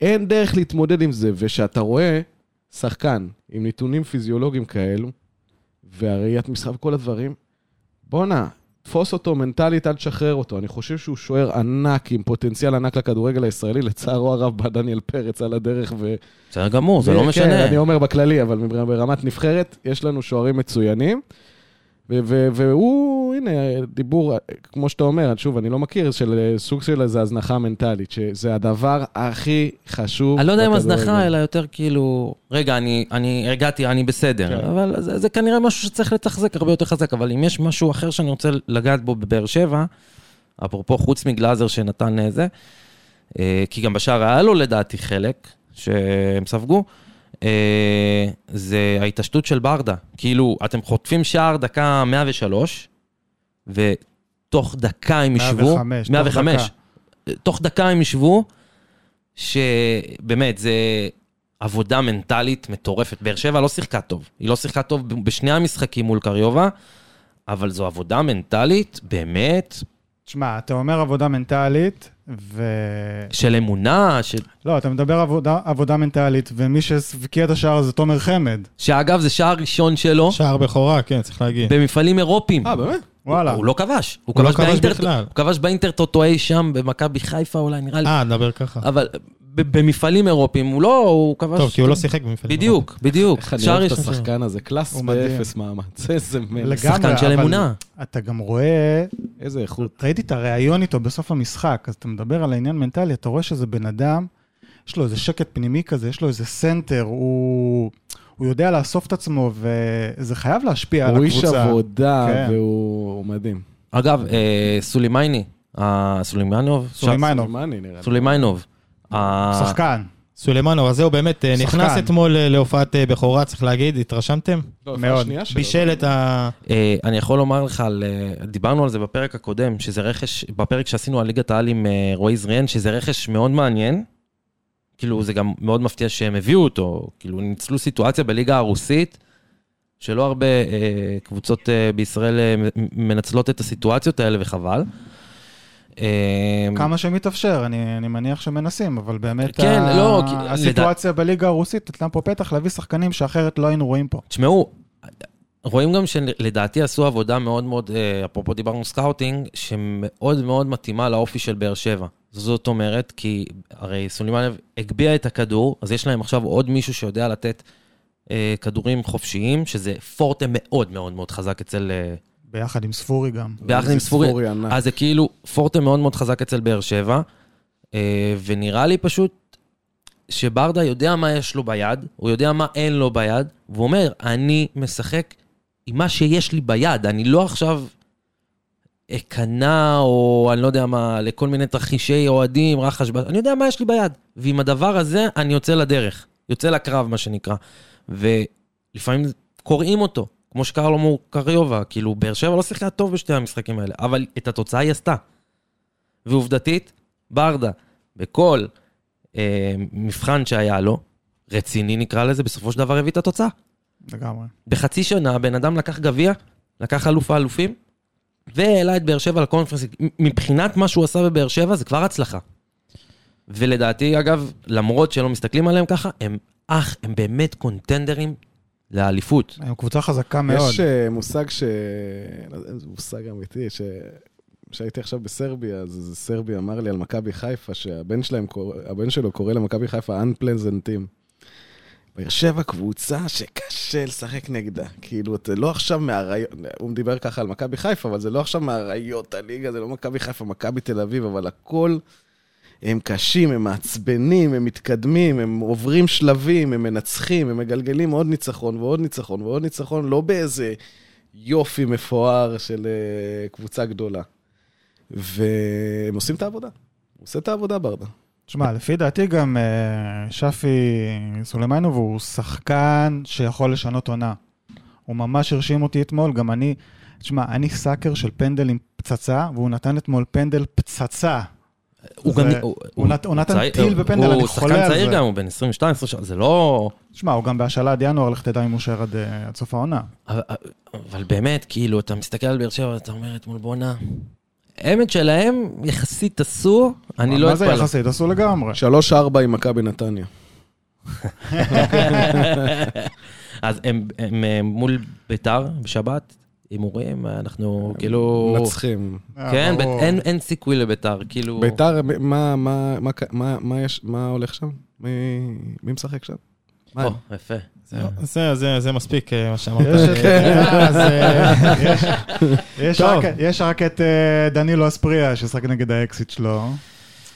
אין דרך להתמודד עם זה, וכשאתה רואה שחקן עם נתונים פיזיולוגיים כאלו, והראיית משחק וכל הדברים, בואנה, תפוס אותו מנטלית, אל תשחרר אותו. אני חושב שהוא שוער ענק, עם פוטנציאל ענק לכדורגל הישראלי, לצערו הרב בא דניאל פרץ על הדרך ו... בסדר גמור, זה לא כן, משנה. אני אומר בכללי, אבל מבר- ברמת נבחרת, יש לנו שוערים מצוינים. ו- ו- והוא, הנה, דיבור, כמו שאתה אומר, שוב, אני לא מכיר, של סוג של איזו הזנחה מנטלית, שזה הדבר הכי חשוב. אני לא יודע אם בכדורגל. הזנחה, אלא יותר כאילו, רגע, אני, אני הגעתי, אני בסדר. כן. אבל זה, זה כנראה משהו שצריך לתחזק הרבה יותר חזק. אבל אם יש משהו אחר שאני רוצה לגעת בו בבאר שבע, אפרופו חוץ מגלאזר שנתן אה, זה, אה, כי גם בשער היה לו לדעתי חלק שהם ספגו, אה, זה ההתעשתות של ברדה. כאילו, אתם חוטפים שער דקה 103, ותוך דקה הם ישבו... 105, תוך 105. תוך דקה הם ישבו, שבאמת, זה עבודה מנטלית מטורפת. באר שבע לא שיחקה טוב. היא לא שיחקה טוב ב- בשני המשחקים מול קריובה, אבל זו עבודה מנטלית, באמת, תשמע, אתה אומר עבודה מנטלית, ו... של אמונה, של... לא, אתה מדבר עבודה, עבודה מנטלית, ומי שהבקיע את השער זה תומר חמד. שאגב, זה שער ראשון שלו שער בכורה, כן, צריך להגיד. במפעלים אירופיים. אה, באמת? וואלה. הוא לא כבש, הוא הוא לא כבש כבש באינטר- בכלל. הוא כבש באינטרטוטו אי שם, במכבי חיפה אולי, נראה לי. אה, נדבר ככה. אבל ב- במפעלים אירופיים הוא לא, הוא כבש... טוב, כי הוא לא שיחק במפעלים. בדיוק, בדיוק. איך אני שער אוהב את ראשון שלו. השחקן הזה, קלאס הוא מדהים. באפס מאמץ, איזה מלך, לגמרי, לא שחקן של אבל אמונה. אתה גם רואה, איזה איכות. ראיתי את הריאיון איתו בסוף המשחק, אז אתה מדבר על העניין מנטלי, אתה רואה שזה בן אדם, יש לו איזה שקט פנימי כזה, יש לו איזה סנטר, הוא, הוא יודע לאסוף את עצמו, וזה חייב להשפיע על הוא איש הקבוצה. עבודה, כן. והוא הוא מדהים. אגב, אה, סולימייני, אה, סולימאנוב? אה, סולימנוב, סולימני נראה לי. סולימיינוב. אה, שחקן. סולימנוב, אז זהו, באמת, אה, שחקן. נכנס אתמול אה, להופעת אה, בכורה, צריך להגיד, התרשמתם? לא, מאוד. הופעה שנייה שלו. בישל את ה... אה, אני יכול לומר לך, על, אה, דיברנו על זה בפרק הקודם, שזה רכש, בפרק שעשינו על ליגת העל עם אה, רועי זריאן, שזה רכש מאוד מעניין. כאילו, זה גם מאוד מפתיע שהם הביאו אותו. כאילו, ניצלו סיטואציה בליגה הרוסית, שלא הרבה אה, קבוצות אה, בישראל אה, מ- מנצלות את הסיטואציות האלה, וחבל. אה, כמה שמתאפשר, אני, אני מניח שמנסים, אבל באמת כן, ה... לא, כי- הסיטואציה בליגה הרוסית נתנה פה פתח להביא שחקנים שאחרת לא היינו רואים פה. תשמעו, רואים גם שלדעתי עשו עבודה מאוד מאוד, אה, אפרופו דיברנו סקאוטינג, שמאוד מאוד מתאימה לאופי של באר שבע. זאת אומרת, כי הרי סולימנב הגביה את הכדור, אז יש להם עכשיו עוד מישהו שיודע לתת אה, כדורים חופשיים, שזה פורטה מאוד מאוד מאוד חזק אצל... אה, ביחד עם ספורי גם. ביחד עם איזה ספורי. ענק. אז זה כאילו פורטה מאוד מאוד חזק אצל באר שבע, אה, ונראה לי פשוט שברדה יודע מה יש לו ביד, הוא יודע מה אין לו ביד, והוא אומר, אני משחק עם מה שיש לי ביד, אני לא עכשיו אכנע, או אני לא יודע מה, לכל מיני תרחישי אוהדים, רחש, אני יודע מה יש לי ביד, ועם הדבר הזה אני יוצא לדרך, יוצא לקרב, מה שנקרא. ולפעמים קוראים אותו, כמו שקרה לו מול קריובה. כאילו, באר שבע לא שיחקה טוב בשתי המשחקים האלה, אבל את התוצאה היא עשתה. ועובדתית, ברדה, בכל אה, מבחן שהיה לו, רציני נקרא לזה, בסופו של דבר הביא את התוצאה. לגמרי. בחצי שנה הבן אדם לקח גביע, לקח אלוף האלופים, והעלה את באר שבע לקונפרנס. מ- מבחינת מה שהוא עשה בבאר שבע זה כבר הצלחה. ולדעתי, אגב, למרות שלא מסתכלים עליהם ככה, הם אח, הם באמת קונטנדרים לאליפות. הם קבוצה חזקה מאוד. יש אה, מושג ש... לא יודע, זה מושג אמיתי, ש... כשהייתי עכשיו בסרביה, אז איזה סרבי אמר לי על מכבי חיפה, שהבן שלהם, קור- הבן שלו קורא למכבי חיפה Unpleasant Team. באר שבע קבוצה שקשה לשחק נגדה. כאילו, זה לא עכשיו מאריות, הוא דיבר ככה על מכבי חיפה, אבל זה לא עכשיו מאריות הליגה, זה לא מכבי חיפה, מכבי תל אביב, אבל הכל, הם קשים, הם מעצבנים, הם מתקדמים, הם עוברים שלבים, הם מנצחים, הם מגלגלים עוד ניצחון ועוד ניצחון ועוד ניצחון, לא באיזה יופי מפואר של אה, קבוצה גדולה. והם עושים את העבודה. הוא עושה את העבודה, ברדה. תשמע, לפי דעתי גם אה, שפי סולימנוב הוא שחקן שיכול לשנות עונה. הוא ממש הרשים אותי אתמול, גם אני... תשמע, אני סאקר של פנדל עם פצצה, והוא נתן אתמול פנדל פצצה. הוא זה- גם... הוא נת- הוא נתן צעיר- טיל בפנדל, אני חולה הוא על שחקן צעיר זה. גם, הוא בן 22, 23, זה לא... תשמע, הוא גם בהשאלה עד ינואר, לך תדע אם הוא יישאר עד, אה, עד סוף העונה. אבל- אבל באמת, כאילו, אתה מסתכל על באר שבע, אתה אומר אתמול בואנה. האמת שלהם יחסית עשו, אני לא מה זה אתפלא. יחסית? עשו לגמרי. 3-4 עם מכבי נתניה. אז הם הם, אה, מול ביתר בשבת, הימורים, אנחנו כאילו... מנצחים. אה, כן, ברור. בית- אין- אין סיכוי לביתר, כאילו... ביתר, מה- מה- מה- מה- מה יש- מה הולך שם? מי- מי משחק שם? מה? או, יפה. זה, זה, זה מספיק אה, מה שאמרת. יש את- אה, אז, אה, יש- יש טוב. רק- יש רק את אה, דנילו אספריה, ששחק נגד האקסיט שלו.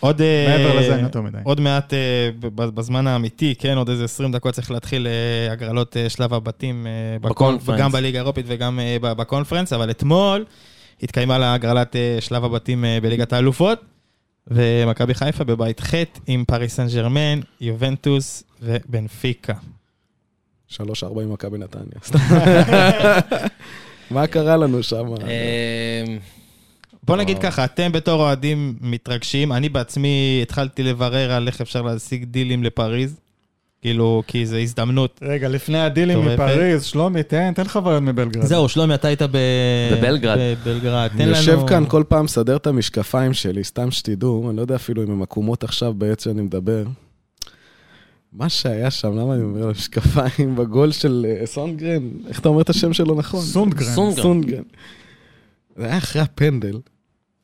עוד, אה, מעבר לזה, אין יותר מדי. עוד מעט אה, ב- בזמן האמיתי, כן, עוד איזה 20 דקות צריך להתחיל אה, הגרלות אה, שלב הבתים, אה, בקונ- בקונפרנס. גם בליגה האירופית וגם אה, ב- בקונפרנס, אבל אתמול התקיימה לה הגרלת אה, שלב הבתים אה, בליגת האלופות, ומכבי חיפה בבית ח' עם פריס סן ג'רמן, יובנטוס ובנפיקה. 3-4 עם מכבי נתניה. סתם. מה קרה לנו שם? אמ, בוא נגיד וואו. ככה, אתם בתור אוהדים מתרגשים, אני בעצמי התחלתי לברר על איך אפשר להשיג דילים לפריז, כאילו, כי זו הזדמנות. רגע, לפני הדילים טוב, יפה. מפריז, שלומי, תן תן חוויות מבלגרד. זהו, שלומי, אתה היית ב... בבלגרד. בבלגרד. תן אני לנו... יושב כאן כל פעם, מסדר את המשקפיים שלי, סתם שתדעו, אני לא יודע אפילו אם הן עקומות עכשיו בעת שאני מדבר. מה שהיה שם, למה אני אומר על המשקפיים בגול של אה, סונגרן? איך אתה אומר את השם שלו נכון? סונדגרן. סונדגרן. סונגרן. זה היה אחרי הפנדל,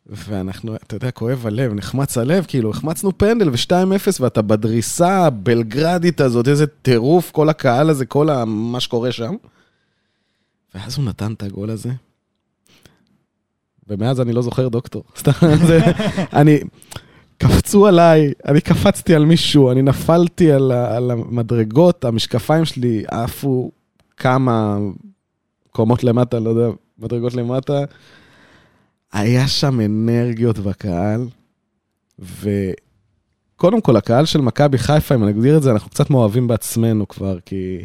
ואנחנו, אתה יודע, כואב הלב, נחמץ הלב, כאילו, החמצנו פנדל ו-2-0, ואתה בדריסה הבלגרדית הזאת, איזה טירוף, כל הקהל הזה, כל ה- מה שקורה שם. ואז הוא נתן את הגול הזה. ומאז אני לא זוכר דוקטור. סתם, זה... אני... קפצו עליי, אני קפצתי על מישהו, אני נפלתי על, ה- על המדרגות, המשקפיים שלי עפו כמה קומות למטה, לא יודע, מדרגות למטה. היה שם אנרגיות בקהל, וקודם כל, הקהל של מכבי חיפה, אם נגדיר את זה, אנחנו קצת מאוהבים בעצמנו כבר, כי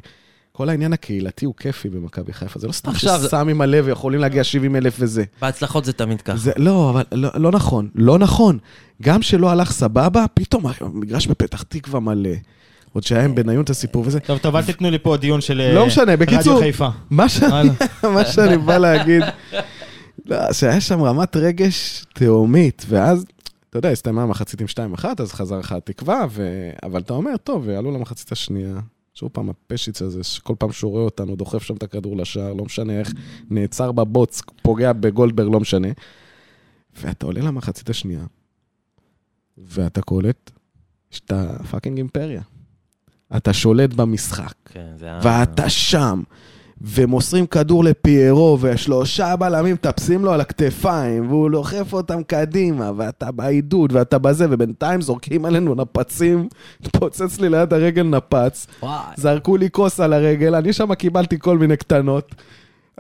כל העניין הקהילתי הוא כיפי במכבי חיפה. זה לא סתם עכשיו- שסמי מלא ויכולים להגיע 70 אלף וזה. בהצלחות זה תמיד ככה. זה, לא, אבל לא, לא נכון, לא נכון. גם שלא הלך סבבה, פתאום המגרש בפתח תקווה מלא. עוד שהיה עם בניון את הסיפור וזה. טוב, טוב, אל תיתנו לי פה דיון של... אה, לא משנה, רדיו בקיצור, חיפה. אה, מה שאני, הלאה. מה שאני בא להגיד, לא, שהיה שם רמת רגש תהומית, ואז, אתה יודע, הסתיימה המחצית עם 2-1, אז חזר לך התקווה, ו... אבל אתה אומר, טוב, עלו למחצית השנייה. שוב פעם, הפשיץ הזה, שכל פעם שהוא רואה אותנו, דוחף שם את הכדור לשער, לא משנה איך, נעצר בבוץ, פוגע בגולדברג, לא משנה. ואתה עולה למחצית השנייה, ואתה קולט שאתה פאקינג אימפריה. אתה שולט במשחק. כן, זה היה- ואתה שם, ומוסרים כדור לפיירו, והשלושה בלמים מטפסים לו על הכתפיים, והוא דוחף אותם קדימה, ואתה בעידוד, ואתה בזה, ובינתיים זורקים עלינו נפצים, התפוצץ לי ליד הרגל נפץ, וואי. זרקו לי כוס על הרגל, אני שם קיבלתי כל מיני קטנות.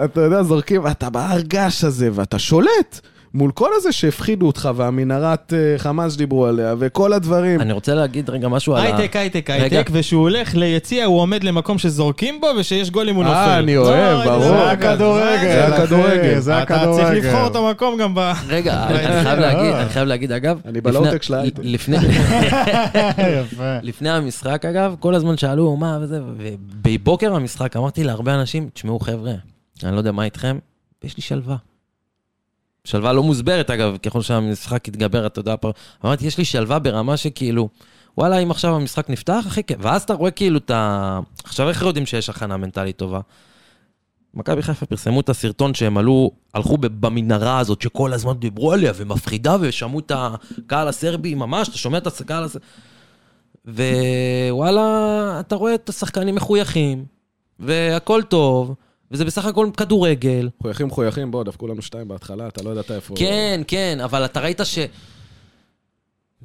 אתה יודע, זורקים, אתה בהר געש הזה, ואתה שולט. מול כל הזה שהפחידו אותך, והמנהרת אה, חמאס שדיברו עליה, וכל הדברים. אני רוצה להגיד רגע משהו על ה... הייטק, הייטק, רגע. הייטק, ושהוא הולך ליציע, הוא עומד למקום שזורקים בו, ושיש גול אם הוא אה, נופל. אני אוהב, לא, ברור. זה זה הכדורגל. זה זה הכדורגל. אחי, זה אתה הכדורגל. צריך לבחור את המקום גם ב... רגע, אני אני חייב להגיד, אני חייב להגיד, אגב... אני בלואו-טק לפני- של ההייטק. לפני- יפה. לפני המשחק, אגב, כל הזמן שאלו מה וזה, ובבוקר המשחק אמרתי להרבה אנשים, תשמעו חבר'ה, אני לא יודע מה איתכם, יש לי שלווה. שלווה לא מוסברת, אגב, ככל שהמשחק יתגבר, אתה יודע, פר- אמרתי, יש לי שלווה ברמה שכאילו, וואלה, אם עכשיו המשחק נפתח, אחי, כיף." ואז אתה רואה כאילו את ה... עכשיו, איך יודעים שיש הכנה מנטלית טובה? מכבי חיפה פרסמו את הסרטון שהם עלו, הלכו ב- במנהרה הזאת שכל הזמן דיברו עליה ומפחידה ושמעו את הקהל הסרבי, ממש, אתה שומע את הקהל הסרבי. ווואלה, אתה רואה את השחקנים מחויכים, והכל טוב, וזה בסך הכל כדורגל. חויכים חויכים, בוא, דפקו לנו שתיים בהתחלה, אתה לא ידעת איפה... כן, כן, אבל אתה ראית ש...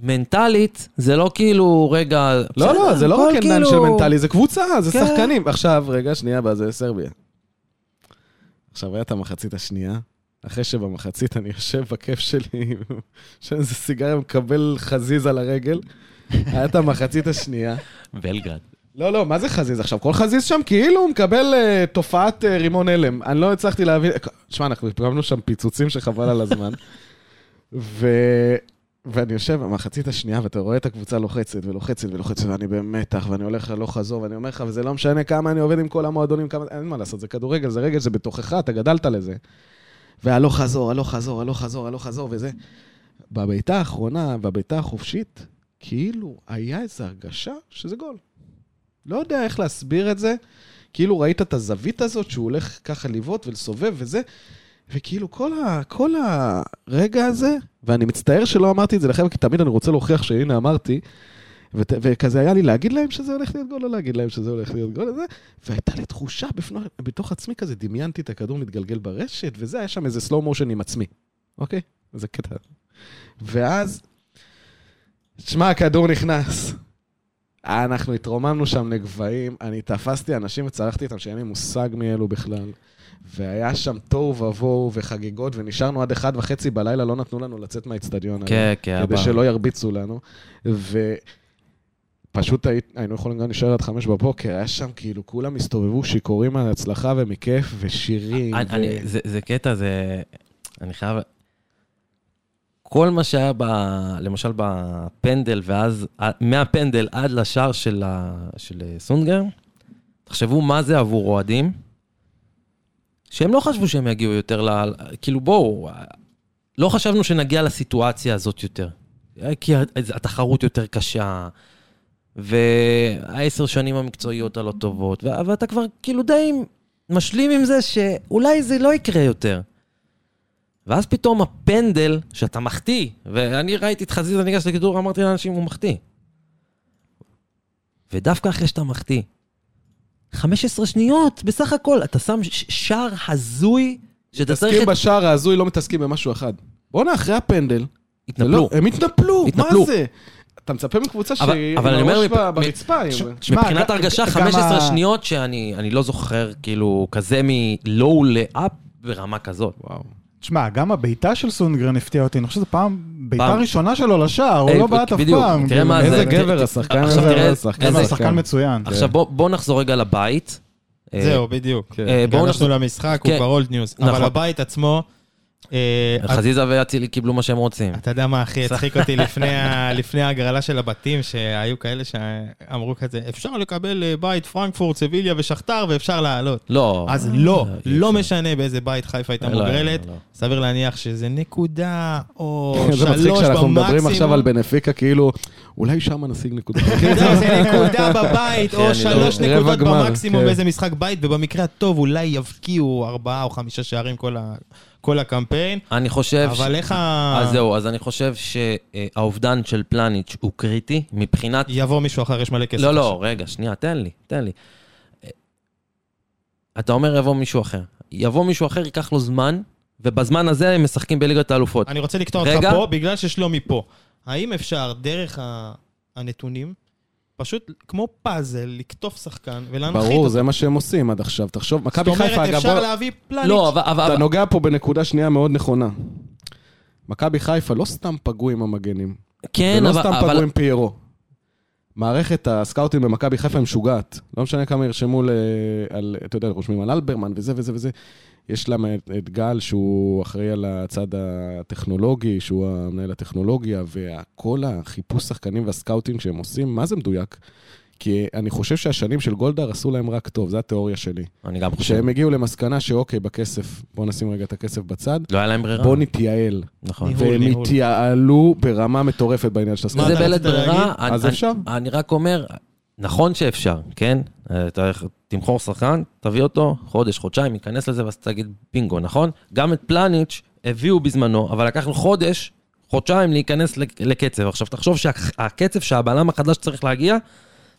מנטלית, זה לא כאילו, רגע... לא, לא, בסדר, זה לא הכל רק עניין של כאילו- מנטלי, זה קבוצה, זה כן. שחקנים. עכשיו, רגע, שנייה, ואז זה סרביה. עכשיו, היה את המחצית השנייה, אחרי שבמחצית אני יושב בכיף שלי, יושב איזה סיגריה, מקבל חזיז על הרגל. היה את המחצית השנייה. בלגרד. לא, לא, מה זה חזיז עכשיו? כל חזיז שם כאילו הוא מקבל אה, תופעת אה, רימון הלם. אני לא הצלחתי להבין... שמע, אנחנו הקרבנו שם פיצוצים שחבל על הזמן. ו... ואני יושב במחצית השנייה, ואתה רואה את הקבוצה לוחצת ולוחצת ולוחצת, ואני במתח, ואני הולך הלוך חזור, ואני אומר לך, וזה לא משנה כמה אני עובד עם כל המועדונים, כמה... אין מה לעשות, זה כדורגל, זה רגל, זה בתוכך, אתה גדלת לזה. והלוך חזור, הלוך חזור, הלוך חזור, הלוך חזור, וזה. בבעיטה האחרונה, בבעיטה החופשית, כאילו היה איזו הרגשה שזה גול. לא יודע איך להסביר את זה. כאילו ראית את הזווית הזאת שהוא הולך ככה לבעוט ולסובב וזה, וכאילו כל, ה, כל הרגע הזה, ואני מצטער שלא אמרתי את זה לכם, כי תמיד אני רוצה להוכיח שהנה אמרתי, ות, וכזה היה לי להגיד להם שזה הולך להיות גול, לא להגיד להם שזה הולך להיות גול, וזה, והייתה לי תחושה בפנו, בתוך עצמי כזה, דמיינתי את הכדור מתגלגל ברשת, וזה, היה שם איזה slow motion עם עצמי, אוקיי? זה קטע. ואז, שמע, הכדור נכנס. אנחנו התרוממנו שם לגבהים, אני תפסתי אנשים וצרחתי איתם שאין לי מושג מי אלו בכלל. והיה שם תוהו ובוהו וחגיגות, ונשארנו עד אחד וחצי בלילה, לא נתנו לנו לצאת מהאיצטדיון. כן, היום, כן, כדי אבא. שלא ירביצו לנו. ופשוט הי- היינו יכולים גם להישאר עד חמש בבוקר, היה שם כאילו, כולם הסתובבו שיכורים על הצלחה ומכיף, ושירים. אני- ו- אני- זה- זה קטע, זה... אני חייב... כל מה שהיה, ב, למשל, בפנדל, ואז מהפנדל עד לשער של, ה, של אה, סונגר, תחשבו מה זה עבור אוהדים, שהם לא חשבו שהם יגיעו יותר ל... כאילו, בואו, לא חשבנו שנגיע לסיטואציה הזאת יותר. כי התחרות יותר קשה, והעשר שנים המקצועיות הלא טובות, ו- ואתה כבר כאילו די משלים עם זה שאולי זה לא יקרה יותר. ואז פתאום הפנדל, שאתה מחטיא, ואני ראיתי את חזיזה ניגש לכדור, אמרתי לאנשים, הוא מחטיא. ודווקא אחרי שאתה מחטיא, 15 שניות בסך הכל, אתה שם ש- שער הזוי, שאתה צריך... את- מתעסקים בשער ההזוי, לא מתעסקים במשהו אחד. בואנה, אחרי הפנדל. זה התנפלו. אה, לא- הם התנפלו, התנפלו. מה זה? אתה מצפה מקבוצה אבל- שהיא עם אבל אני אומר, הראש מפ- ב- מ- ברצפה. היא- שמע, מבחינת ג- הרגשה, גם 15 ה- שניות שאני אני לא זוכר, כאילו, כזה מלואו לאפ ברמה כזאת. וואו. תשמע, גם הבעיטה של סונגרן הפתיעה אותי, אני חושב שזו פעם בעיטה פעם. ראשונה שלו לשער, הוא אה, לא בעט אף בדיוק, פעם. תראה מה כאילו, זה, איזה ת- גבר, גבר ת- השחקן, עכשיו גבר תראה, השחקן. איזה- כן. גבר, שחקן מצוין. עכשיו בוא- בואו נחזור רגע לבית. אה, זהו, בדיוק. כן. אה, בואו גלשנו נחזור... למשחק, הוא כן. כבר אולד ניוז. נכון. אבל הבית עצמו... אה, חזיזה ואצילי קיבלו מה שהם רוצים. אתה יודע מה הכי הצחיק אותי לפני ה- לפני ההגרלה של הבתים, שהיו כאלה שאמרו כזה, אפשר לקבל אה, בית פרנקפורט, סביליה ושכתר ואפשר לעלות. לא. אז לא, אה, אי לא אפשר. משנה באיזה בית חיפה הייתה לא, לא, מוגרלת, לא. סביר להניח שזה נקודה או שלוש זה במקסימום. מצחיק שאנחנו מדברים עכשיו על בנפיקה, כאילו, אולי שם נשיג נקודה. זהו, כן, זה נקודה בבית, אני לא- או שלוש רבע נקודות גמר, במקסימום כן. באיזה משחק בית, ובמקרה הטוב אולי יבקיעו ארבעה או חמישה שערים כל ה- כל הקמפיין. אני חושב... ש- אה, אבל איך אז ה... זהו, אז אני חושב שהאובדן של פלניץ' הוא קריטי מבחינת יבוא מישהו אחר, יש מלא כסף. לא, עכשיו. לא, רגע, שנייה, תן לי, תן לי. אה, אתה אומר יבוא מישהו אחר. יבוא מישהו אחר, ייקח לו זמן, ובזמן הזה הם משחקים בליגת האלופות. אני רוצה לקטוע אותך אוקיי. רגע. פה, בגלל ששלומי פה. האם אפשר, דרך ה- הנתונים, פשוט כמו פאזל, לקטוף שחקן ולהנחית אותו? ברור, זה מה שהם עושים עד עכשיו. תחשוב, מכבי זאת חיפה, אומרת, אגב, אפשר בוא- להביא פלניץ'. לא, אבל... אבל- אתה נוגע פה בנקודה שנייה מאוד נכונה. מכבי חיפה לא סתם פגעו עם המגנים. כן, ולא אבל... לא סתם אבל- פגעו עם פיירו. מערכת הסקאוטים במכבי חיפה היא משוגעת. לא משנה כמה ירשמו ל... על, אתה יודע, רושמים על אלברמן וזה וזה וזה. יש להם את, את גל, שהוא אחראי על הצד הטכנולוגי, שהוא המנהל הטכנולוגיה, וכל החיפוש שחקנים והסקאוטינג שהם עושים, מה זה מדויק? כי אני חושב שהשנים של גולדהר עשו להם רק טוב, זו התיאוריה שלי. אני גם חושב. שהם הגיעו למסקנה שאוקיי, בכסף, בואו נשים רגע את הכסף בצד, לא היה להם ברירה. בואו נתייעל. נכון. אה. ניהול, והם ניהול. התייעלו ברמה מטורפת בעניין של הסקאוטינג. מה זה אתה בלית רצית ברירה. להגיד? אני- אז אני- אפשר. אני רק אומר, נכון שאפשר, כן? אתה תמכור שחקן, תביא אותו, חודש, חודשיים, ייכנס לזה, ואז תגיד בינגו, נכון? גם את פלניץ' הביאו בזמנו, אבל לקחנו חודש, חודשיים להיכנס לק- לקצב. עכשיו, תחשוב שהקצב שהבלם החדש צריך להגיע,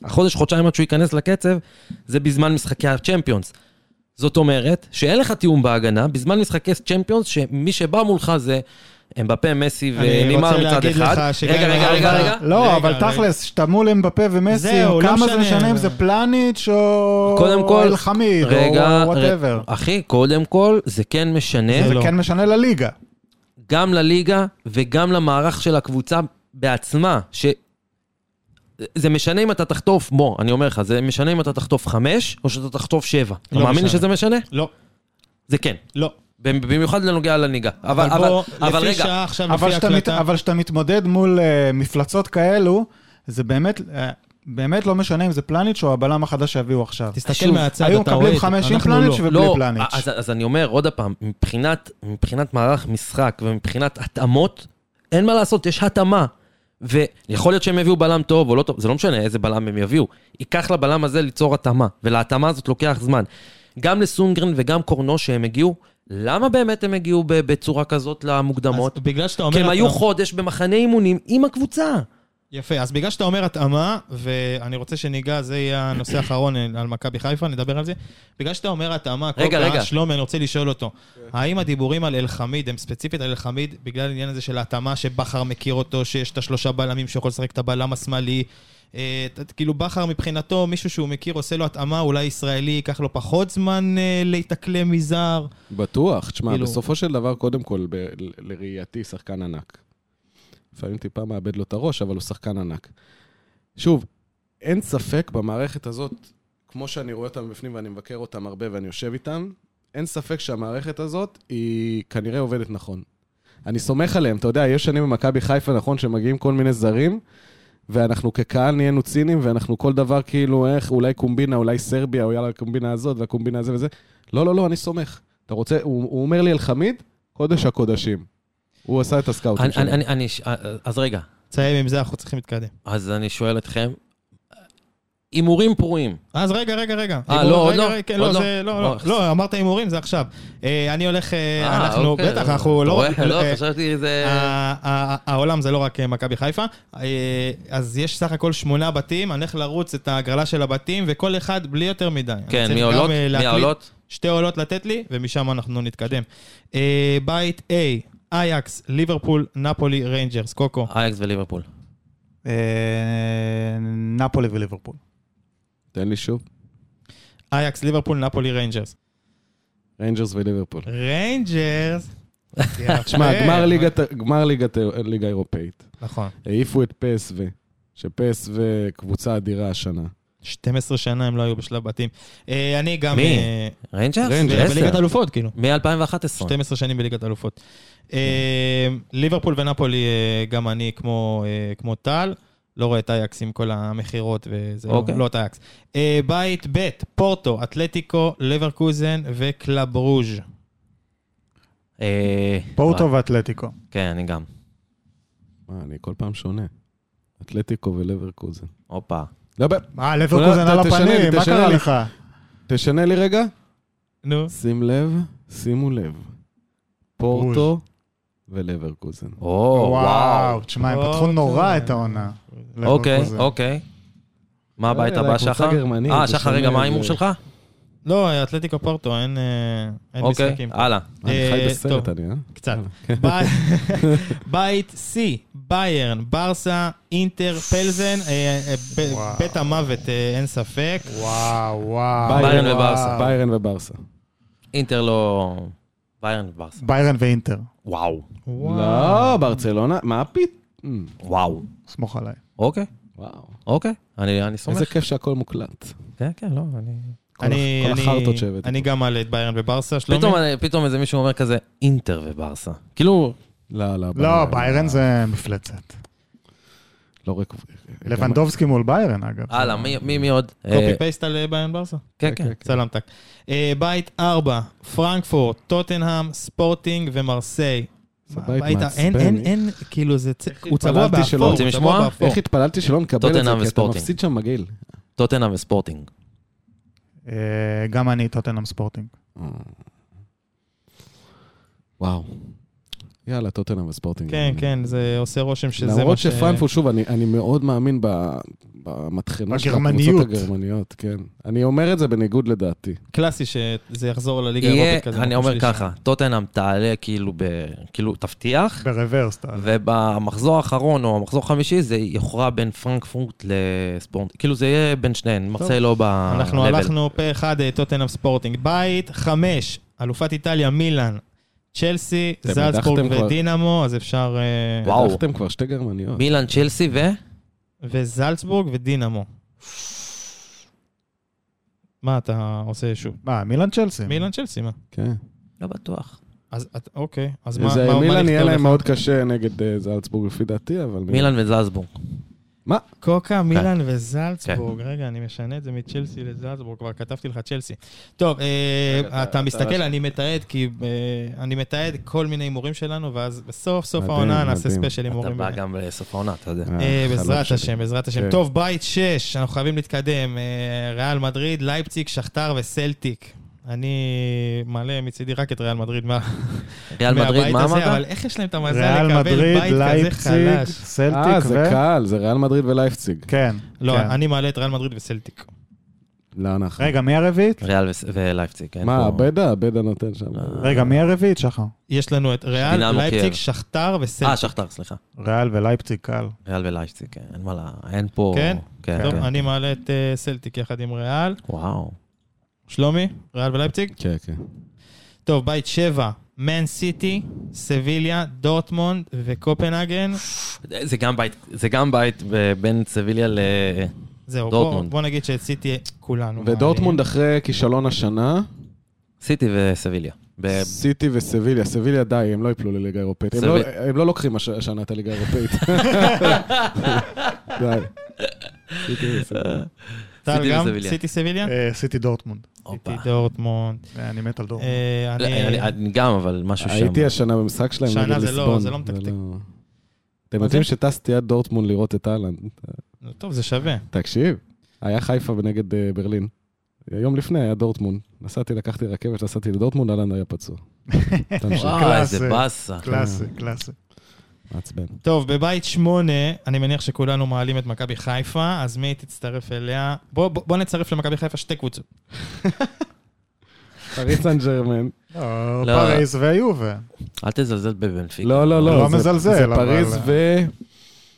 החודש, חודשיים עד שהוא ייכנס לקצב, זה בזמן משחקי הצ'מפיונס. זאת אומרת, שאין לך תיאום בהגנה, בזמן משחקי צ'מפיונס, שמי שבא מולך זה אמבפה, מסי אני ונימר רוצה מצד להגיד אחד. לך שגם רגע, רגע, אם רגע, אבל- רגע. רגע, לא, אבל רגע. תכלס, שאתה מול אמבפה ומסי, זהו, לא כמה זה משנה. משנה אם זה פלניץ' או קודם כל, אלחמיד, רגע, או וואטאבר. ר- אחי, קודם כל, זה כן משנה. זה לא. כן משנה לליגה. גם לליגה וגם למערך של הקבוצה בעצמה, ש... זה משנה אם אתה תחטוף, בוא, אני אומר לך, זה משנה אם אתה תחטוף חמש, או שאתה תחטוף שבע. אתה לא מאמין לי משנה. שזה משנה? לא, זה כן. לא. במיוחד לנוגע לנהיגה. אבל, אבל, בוא, אבל לפי רגע, שעה עכשיו, אבל לפי כשאתה מת- הקלטה. אבל כשאתה מתמודד מול אה, מפלצות כאלו, זה באמת... אה, באמת לא משנה אם זה פלניץ' או הבלם החדש שיביאו עכשיו. תסתכל שוב, מהצד, אתה היו רואה. מקבלים את- חמש עם אנחנו פלניץ' לא. ובלי לא, פלניץ'. אז, אז אני אומר עוד פעם, מבחינת, מבחינת מערך משחק ומבחינת התאמות, אין מה לעשות, יש התאמה. ויכול להיות שהם יביאו בלם טוב או לא טוב, זה לא משנה איזה בלם הם יביאו. ייקח לבלם הזה ליצור התאמה, ולהתאמה הזאת לוקח זמן. גם לסונגרן וגם קורנו שהם הגיעו, למה באמת הם הגיעו ב- בצורה כזאת למוקדמות? אז בגלל שאתה אומר... כי הם היו אתה- חודש במחנה אימונים עם הקבוצה. יפה, אז בגלל שאתה אומר התאמה, ואני רוצה שניגע, זה יהיה הנושא האחרון אה, על מכבי חיפה, נדבר על זה. בגלל שאתה אומר התאמה, רגע, קוקה, רגע. שלומי, אני רוצה לשאול אותו, האם הדיבורים על אלחמיד, הם ספציפית על אלחמיד, בגלל העניין הזה של ההתאמה, שבכר מכיר אותו, שיש את השלושה בלמים שיכול לשחק את הבלם השמאלי, אה, ת- ת- כאילו בכר מבחינתו, מישהו שהוא מכיר עושה לו התאמה, אולי ישראלי, ייקח לו פחות זמן אה, להתאקלם מזר. בטוח. תשמע, כאילו- בסופו של דבר, קודם כל, ב- ל- לראייתי, שחקן ענק. לפעמים טיפה מאבד לו את הראש, אבל הוא שחקן ענק. שוב, אין ספק במערכת הזאת, כמו שאני רואה אותם בפנים ואני מבקר אותם הרבה ואני יושב איתם, אין ספק שהמערכת הזאת היא כנראה עובדת נכון. אני סומך עליהם, אתה יודע, יש שנים במכבי חיפה, נכון, שמגיעים כל מיני זרים, ואנחנו כקהל נהיינו ציניים, ואנחנו כל דבר כאילו, איך, אולי קומבינה, אולי סרביה, או יאללה, הקומבינה הזאת, והקומבינה הזה וזה. לא, לא, לא, אני סומך. אתה רוצה, הוא, הוא אומר לי אלחמיד, קודש הקודשים. הוא עשה את הסקאוטים אני, שלו. אני, אני, אני, אז רגע, תסיים עם זה, אנחנו צריכים להתקדם. אז אני שואל אתכם, הימורים פרועים. אז רגע, רגע, רגע. אה, הימור- לא, עוד רגע, לא? רגע, כן, עוד לא, לא? זה- לא, לא. אה, לא, אמרת הימורים, זה עכשיו. אה, אני הולך, אה, אה, אנחנו, אוקיי. בטח, אנחנו לא... אתה לא, רואה? לא, אה, חשבתי זה... ה- ה- העולם זה לא רק אה, מכבי חיפה, אה, אז יש סך הכל שמונה בתים, אני הולך לרוץ את ההגרלה של הבתים, וכל אחד בלי יותר מדי. אני כן, צריך מי גם, עולות? אה, מי להקליט. העולות? שתי עולות לתת לי, ומשם אנחנו נתקדם. אה, בית A, אייקס, ליברפול, נפולי, ריינג'רס, קוקו. אייקס וליברפול. אה, נפולי וליברפול. תן לי שוב. אייקס, ליברפול, נפולי, ריינג'רס. ריינג'רס וליברפול. אה. ריינג'רס! תשמע, גמר ליגת- גמר ליגת- ליגה אירופאית. כן. נכון. העיפו את פסו, שפסו קבוצה אדירה השנה. 12 שנה הם לא היו בשלב בתים. אה, אני גם... מי? אה, ריינג'רס? ריינג'רס. בליגת עשר. אלופות, כאילו. מ-2011. 12 שנים בליגת אלופות. אה, ליברפול ונפולי, אה, גם אני כמו אה, כמו טל, לא רואה את אייקס עם כל המכירות, וזה לא- אוקיי. לא את אייקס. אה, בית ב', פורטו, אתלטיקו, לברקוזן וקלברוז'. אה, פורטו וואי, ואתלטיקו. כן, אני גם. מה, אני כל פעם שונה. אתלטיקו ולברקוזן. הופה. לא, ב- אה, לברקוזן אולי על אתה תשנה לי, הפנים, מה תשנה קרה לי. לך? תשנה לי רגע. נו. שים לב, שימו לב. פורטו ולברקוזן. או, וואו, וואו. תשמע, הם וואו, פתחו נורא כן. את העונה. אוקיי, לברקוזן. אוקיי. מה הבית יאללה, הבא, קבוצה שחר? גרמנית, אה, זה שחר, שונה, רגע, מה זה- ההימור שלך? לא, אתלטיקו פורטו, אין אה, אין אוקיי, משחקים. הלאה. אני אה, חי טוב. בסרט, אני, אה? קצת. ב- בית C, ביירן, ברסה, אינטר, פלזן, אה, אה, ב- וואו. בית המוות, אה, אין ספק. וואו, וואו. ביירן וואו. וברסה. ביירן וברסה. אינטר לא... ביירן וברסה. ביירן ואינטר. וואו. לא, ברצלונה, מה פתאום? וואו. סמוך עליי. אוקיי, וואו. אוקיי. אני אני סומך. איזה כיף שהכל מוקלט. כן, כן, לא, אני... כל הח- כל החרטות שהבאתם. אני גם מעלה את ביירן וברסה, שלומי. פתאום, אה, פתאום איזה מישהו אומר כזה, אינטר וברסה. כאילו, לא, לא. לא, ביירן זה מפלצת. לא רק... לבנדובסקי מול ביירן, אגב. הלאה, מי, מי, מי עוד? אה, קופי פייסט על אה, ביירן וברסה. כן, כן. סלמתק. אה, בית 4, פרנקפורט, טוטנהאם, ספורטינג ומרסיי. זה מה, בית ה- מעצבן, אין, כן. אין, איך? אין, כאילו זה, צ- הוא צבוע התפללתי שלא- באפור, הוא רוצים צבוע לשמוע? באפור. איך התפללתי שלא נקבל את טוטנהאם זה, כי אתה וספורטינג. מפסיד שם מגעיל. טוטנאם וספורטינג. אה, גם אה. אני, טוטנאם ספורטינג. וואו. יאללה, טוטנאם וספורטינג. כן, כן, זה עושה רושם שזה מה ש... למרות שפרנקפורט, שוב, אני, אני מאוד מאמין ב- במטחנה של בגרמניות. הקבוצות הגרמניות, כן. אני אומר את זה בניגוד לדעתי. קלאסי שזה יחזור לליגה יהיה, האירופית כזה. לא אני מקום אומר שלישי. ככה, טוטנאם תעלה כאילו, ב- כאילו תבטיח, ברוורס, אתה... ובמחזור האחרון או המחזור החמישי זה יוכרע בין פרנקפורט לספורט, כאילו זה יהיה בין שניהן, מרסיי לא ב... אנחנו הלכנו פה אחד, אה, טוטנאם ספורטינג בית, חמש, אלופת איטליה מילאן, צ'לסי, אתם זלצבורג הדחתם כבר. ודינמו, אז אפשר... אה, וואו. לקחתם כבר שתי גרמניות. מילאן, צ'לסי ו... וזלצבורג ודינמו. מה אתה עושה שוב? מה, מילאן צ'לסי. מילאן צ'לסי, מה? כן. לא בטוח. אז את- אוקיי, אז מה- זה- מה מה מילאן יהיה נכתוב להם לך? מאוד קשה נגד אה, זלצבורג לפי דעתי, אבל... מילאן וזלזבורג. כן. קוקה, מילאן וזלצבורג. רגע, אני משנה את זה מצ'לסי לזלצבורג, כבר כתבתי לך צ'לסי. טוב, אה, אתה מסתכל, אני מתעד, כי אה, אני מתעד כל מיני הימורים שלנו, ואז בסוף סוף מדהים, העונה נעשה מדהים. ספיישל אתה הימורים. בא גם לסוף העונה, אתה יודע. אה, החלום בעזרת שלי. השם, בעזרת השם. כן. טוב, בית 6, אנחנו חייבים להתקדם. אה, ריאל מדריד, לייפציג, שכתר וסלטיק. אני מעלה מצידי רק את ריאל מדריד מה- ריאל מדריד, מהבית מה הזה, אבל אמרת? איך יש להם את המזל ריאל לקבל מדריד, בית כזה לייפציג, חלש? אה, סלטיק זה ו... קל, זה ריאל מדריד ולייפציג. כן. לא, כן. אני מעלה את ריאל מדריד וסלטיק. לא, אנחנו. רגע, מי הרביעית? ריאל וס- ולייפציג. אה, אין מה, פה- הבדה? הבדה נותן שם. רגע, מי הרביעית, שחר? יש לנו את ריאל, דינמו לייפציג, קייב. שכתר אה, וסלטיק. שכתר, סליחה. ריאל ולייפציג קל. ריאל ולייפציג, כן, אין מה לה... אין פה... כן? כן, טוב, כן. אני מעלה את אה, סלטיק יחד עם ריאל. וואו. שלומי, ריאל ולייפציג? כן, כן. טוב, בית 7, מן סיטי, סביליה, דורטמונד וקופנהגן. זה גם בית, זה גם בית ב- בין סביליה ל... זהו, בוא, דורטמונד. בוא נגיד שאת סיטי כולנו. ודורטמונד אחרי כישלון השנה, סיטי וסביליה. ב- סיטי וסביליה. סביליה די, הם לא יפלו לליגה האירופאית. הם סביל- לא- הם לא לוקחים הש- השנה את הליגה האירופאית. די. סיטי וסביליה. טל סיטי גם? וסביליה. סיטי סביליה? אה, סיטי דורטמונד. הופה. סיטי דורטמונד. אה, אני מת על דורטמונד. אה, לא, אני... אני אני גם, אבל משהו שם. הייתי השנה במשחק שלהם שנה נגד זה לא- ליסבון. זה לא מתקתק. אתם מה יודעים זה? שטסתי עד דורטמונד לראות את אהלנד. טוב, זה שווה. תקשיב, היה חיפה נגד אה, ברלין. יום לפני היה דורטמונד. נסעתי, לקחתי רכבת, נסעתי לדורטמונד, אהלן היה פצוע. תמשיך. וואי, קלאסי. איזה באסה. קלאסי, קלאסי. מעצבן. טוב, בבית שמונה, אני מניח שכולנו מעלים את מכבי חיפה, אז מי תצטרף אליה? בוא, בוא, בוא נצרף למכבי חיפה שתי קבוצות. פריס סן ג'רמן. לא, לא. פריז ויובה. אל תזלזל בבנפיקה. לא, לא, לא לא. זה- מזלזל, זה אבל- פריז ו...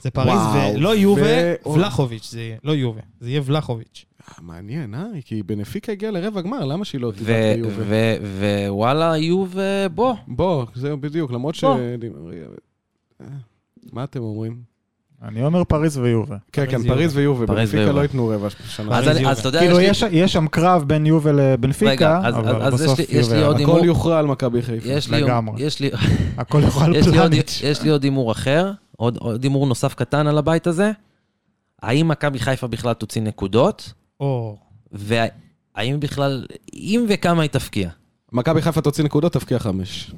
זה פריז וואו, ו... לא יובה, ו- ולחוביץ' זה יהיה. לא יובה, זה יהיה ולחוביץ'. אה, מעניין, אה? כי בנפיקה הגיעה לרבע גמר, למה שהיא לא תדע ו- ביובה? ו- ו- ווואלה, יו ובוא. בוא, זהו בדיוק, למרות ש... בוא. אה, מה אתם אומרים? אני אומר פריז ויובה. כן, פריז כן, יובה. פריז ויובה. פריז בנפיקה ויובה. לא ייתנו רבע שנה. אז פריז, אני- יובה. אז אתה יודע, כאילו, יש לי- יש- יש שם קרב בין יובה רגע, לבנפיקה, אז- אבל אז- אז יש בסוף לי- יש לי יובה. עוד- הכל הימור. יוכרע על מכבי חיפה. יש לי- לגמרי. לא, יש לי- הכל יכול יש לי עוד- פלניץ'. יש לי עוד הימור אחר, עוד עוד הימור נוסף קטן על הבית הזה. האם מכבי חיפה בכלל תוציא נקודות? או, והאם בכלל, אם וכמה היא תפקיע? מכבי חיפה תוציא נקודות, תבקיע חמש.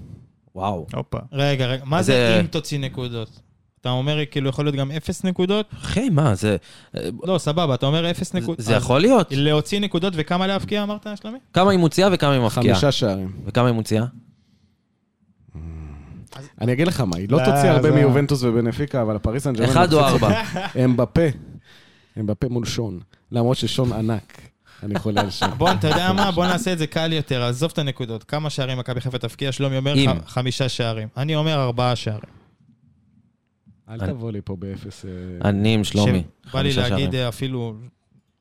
וואו. הופה. רגע, רגע, מה אז, זה אה, אם תוציא נקודות? אתה אומר כאילו יכול להיות גם אפס נקודות? אחי, מה, זה... לא, סבבה, אתה אומר אפס נקודות. אה, זה יכול להיות. להוציא נקודות וכמה להבקיע, אמרת, שלומי? כמה היא מוציאה וכמה היא מפקיעה. חמישה שערים. וכמה היא מוציאה? אני אגיד לך מה, היא לא אה, לא, תוציא הרבה זה- מיובנטוס ובנפיקה, אבל הפריס סן ג'רמן... אחד או ארבע. הם בפה. הם בפה מול שון. למרות ששון ענק. אני חולה על שון. בוא, אתה יודע מה? בוא נעשה את זה קל יותר, עזוב את הנקודות. כמה שערים מכבי חיפה תפקיע? שלומי אומר אם. ח- חמישה שערים. אני אומר ארבעה שערים. אל תבוא לי פה באפס... אה, אני עם שלומי. בא לי חמישה להגיד שערים. אה, אפילו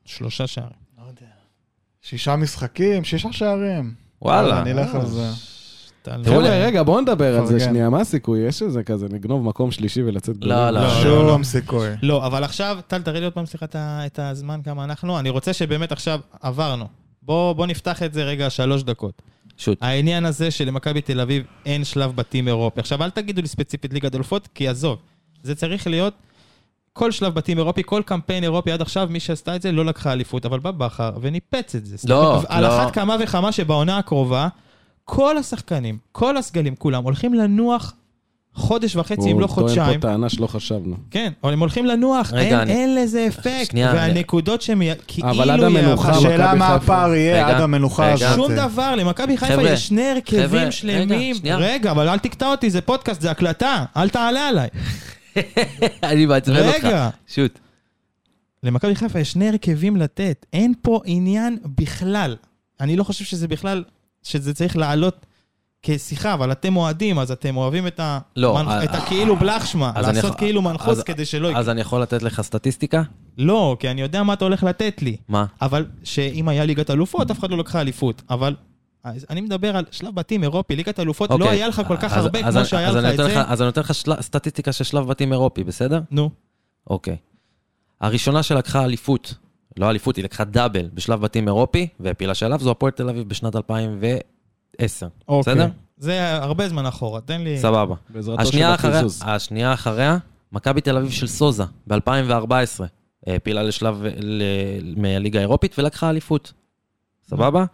שלושה שערים. לא שישה משחקים, שישה שערים. אה, וואלה. אני אלך על זה. טל, חבר'ה, אה, רגע, בואו נדבר על זה פרגן. שנייה. מה הסיכוי? יש איזה כזה, נגנוב מקום שלישי ולצאת גדולים? לא, לא. לא, שום לא. סיכוי. לא, אבל עכשיו, טל, תראה לי עוד פעם, סליחה, את ה- את הזמן כמה אנחנו. אני רוצה שבאמת עכשיו עברנו. בוא בוא נפתח את זה רגע שלוש דקות. שוט. העניין הזה שלמכבי תל אביב אין שלב בתים אירופי. עכשיו, אל תגידו לי ספציפית ליגת אלופות, כי עזוב. זה צריך להיות כל שלב בתים אירופי, כל קמפיין אירופי עד עכשיו, מי שעשתה את זה לא לקחה אליפות, אבל בא בכר וניפץ את זה. זאת לא, אומרת, על לא. אחת כמה וכמה שבעונה הקרובה, כל השחקנים, כל הסגלים, כולם, הולכים לנוח חודש וחצי, אם לא הוא טוען חודשיים. פה טענה שלא חשבנו. כן, אבל הם הולכים לנוח, רגע, אין, אני- אין לזה אפקט. שנייה, והנקודות שהם י- כאילו אבל עד המנוחה, יעברו- השאלה מכבי מה חיפה. הפער יהיה לא, רגע, עד המנוחה רגע. הזאת. שום דבר, למכבי חיפה חבר'ה, יש שני הרכבים חבר'ה, שלמים. רגע, שנייה. רגע, אבל אל תקטע אותי, זה פודקאסט, זה הקלטה, אל תעלה עליי. אני מעצבן אותך. רגע. אוקיי. שוט. למכבי חיפה יש שני הרכבים לתת, אין פה עניין בכלל. אני לא חושב שזה בכלל, שזה צריך לעלות כשיחה, אבל אתם אוהדים, אז אתם אוהבים את ה... לא, מנ- אה, את הכאילו בלחשמה, אז אני לעשות יכול- כאילו מנחוס אז- כדי שלא יקרה. אז אני יכול לתת לך סטטיסטיקה? לא, כי אני יודע מה אתה הולך לתת לי. מה? אבל שאם היה ליגת אלופות, אף אחד לא לקחה אליפות. אבל אז אני מדבר על שלב בתים אירופי, ליגת אלופות, לא אוקיי. היה לך כל כך אז- הרבה אז כמו אני- שהיה אז אני לך את נותן זה. אז אני נותן לך של- סטטיסטיקה של שלב בתים אירופי, בסדר? נו, אוקיי. הראשונה שלקחה אליפות, לא אליפות, היא לקחה דאבל בשלב בתים אירופי, והפילה שלב, זו הפועל תל אביב בשנת 2010. אוקיי. בסדר? זה הרבה זמן אחורה, תן לי... סבבה. בעזרתו של השנייה אחריה, הקיזוז. השנייה אחריה, מכבי תל אביב של סוזה ב-2014, העפילה אה, לשלב ל- מהליגה האירופית ולקחה אליפות. סבבה?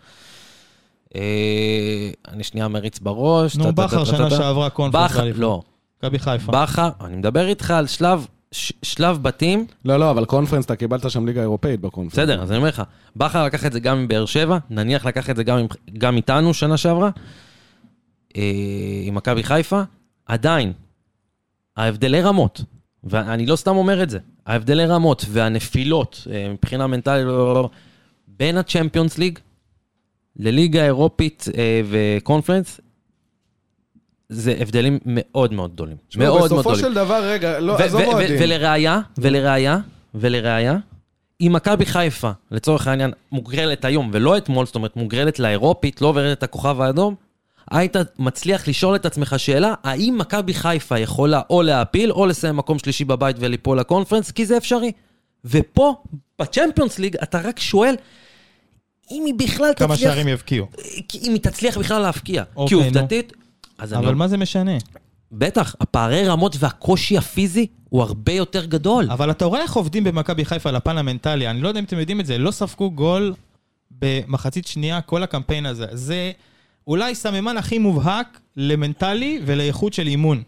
אה, אני שנייה מריץ בראש. נו, טה, טה, בכר טה, טה, שנה טה. שעברה קונפרנס בכר, לאליפות. לא. מכבי חיפה. בכר, אני מדבר איתך על שלב, ש- שלב בתים לא, לא, אבל קונפרנס, אתה קיבלת שם ליגה אירופאית בקונפרנס. בסדר, אז אני אומר לך, בכר לקח את זה גם מבאר שבע, נניח לקח את זה גם, עם, גם איתנו שנה שעברה, אה, עם מכבי חיפה, עדיין, ההבדלי רמות, ואני לא סתם אומר את זה, ההבדלי רמות והנפילות אה, מבחינה מנטלית, לא, לא, לא, בין הצ'מפיונס ליג לליגה האירופית אה, וקונפרנס, זה הבדלים מאוד מאוד גדולים. תשמע, מאוד מאוד בסופו גדולים. של דבר, רגע, לא, ו- עזוב ו- ו- אוהדים. ולראיה, ולראיה, ולראיה, אם מכבי חיפה, לצורך העניין, מוגרלת היום ולא אתמול, זאת אומרת מוגרלת לאירופית, לא עוברת את הכוכב האדום, היית מצליח לשאול את עצמך שאלה, האם מכבי חיפה יכולה או להעפיל, או לסיים מקום שלישי בבית וליפול לקונפרנס, כי זה אפשרי. ופה, בצ'מפיונס ליג, אתה רק שואל, אם היא בכלל כמה תצליח, שערים יבקיעו. אם היא תצליח בכלל להפקיע. כי אוקיי, נו. עובדתית, אז אני אבל מה זה משנה? בטח, הפערי רמות והקושי הפיזי הוא הרבה יותר גדול. אבל אתה רואה איך עובדים במכבי חיפה על הפן המנטלי, אני לא יודע אם אתם יודעים את זה, לא ספגו גול במחצית שנייה כל הקמפיין הזה. זה אולי סממן הכי מובהק למנטלי ולאיכות של אימון. אה.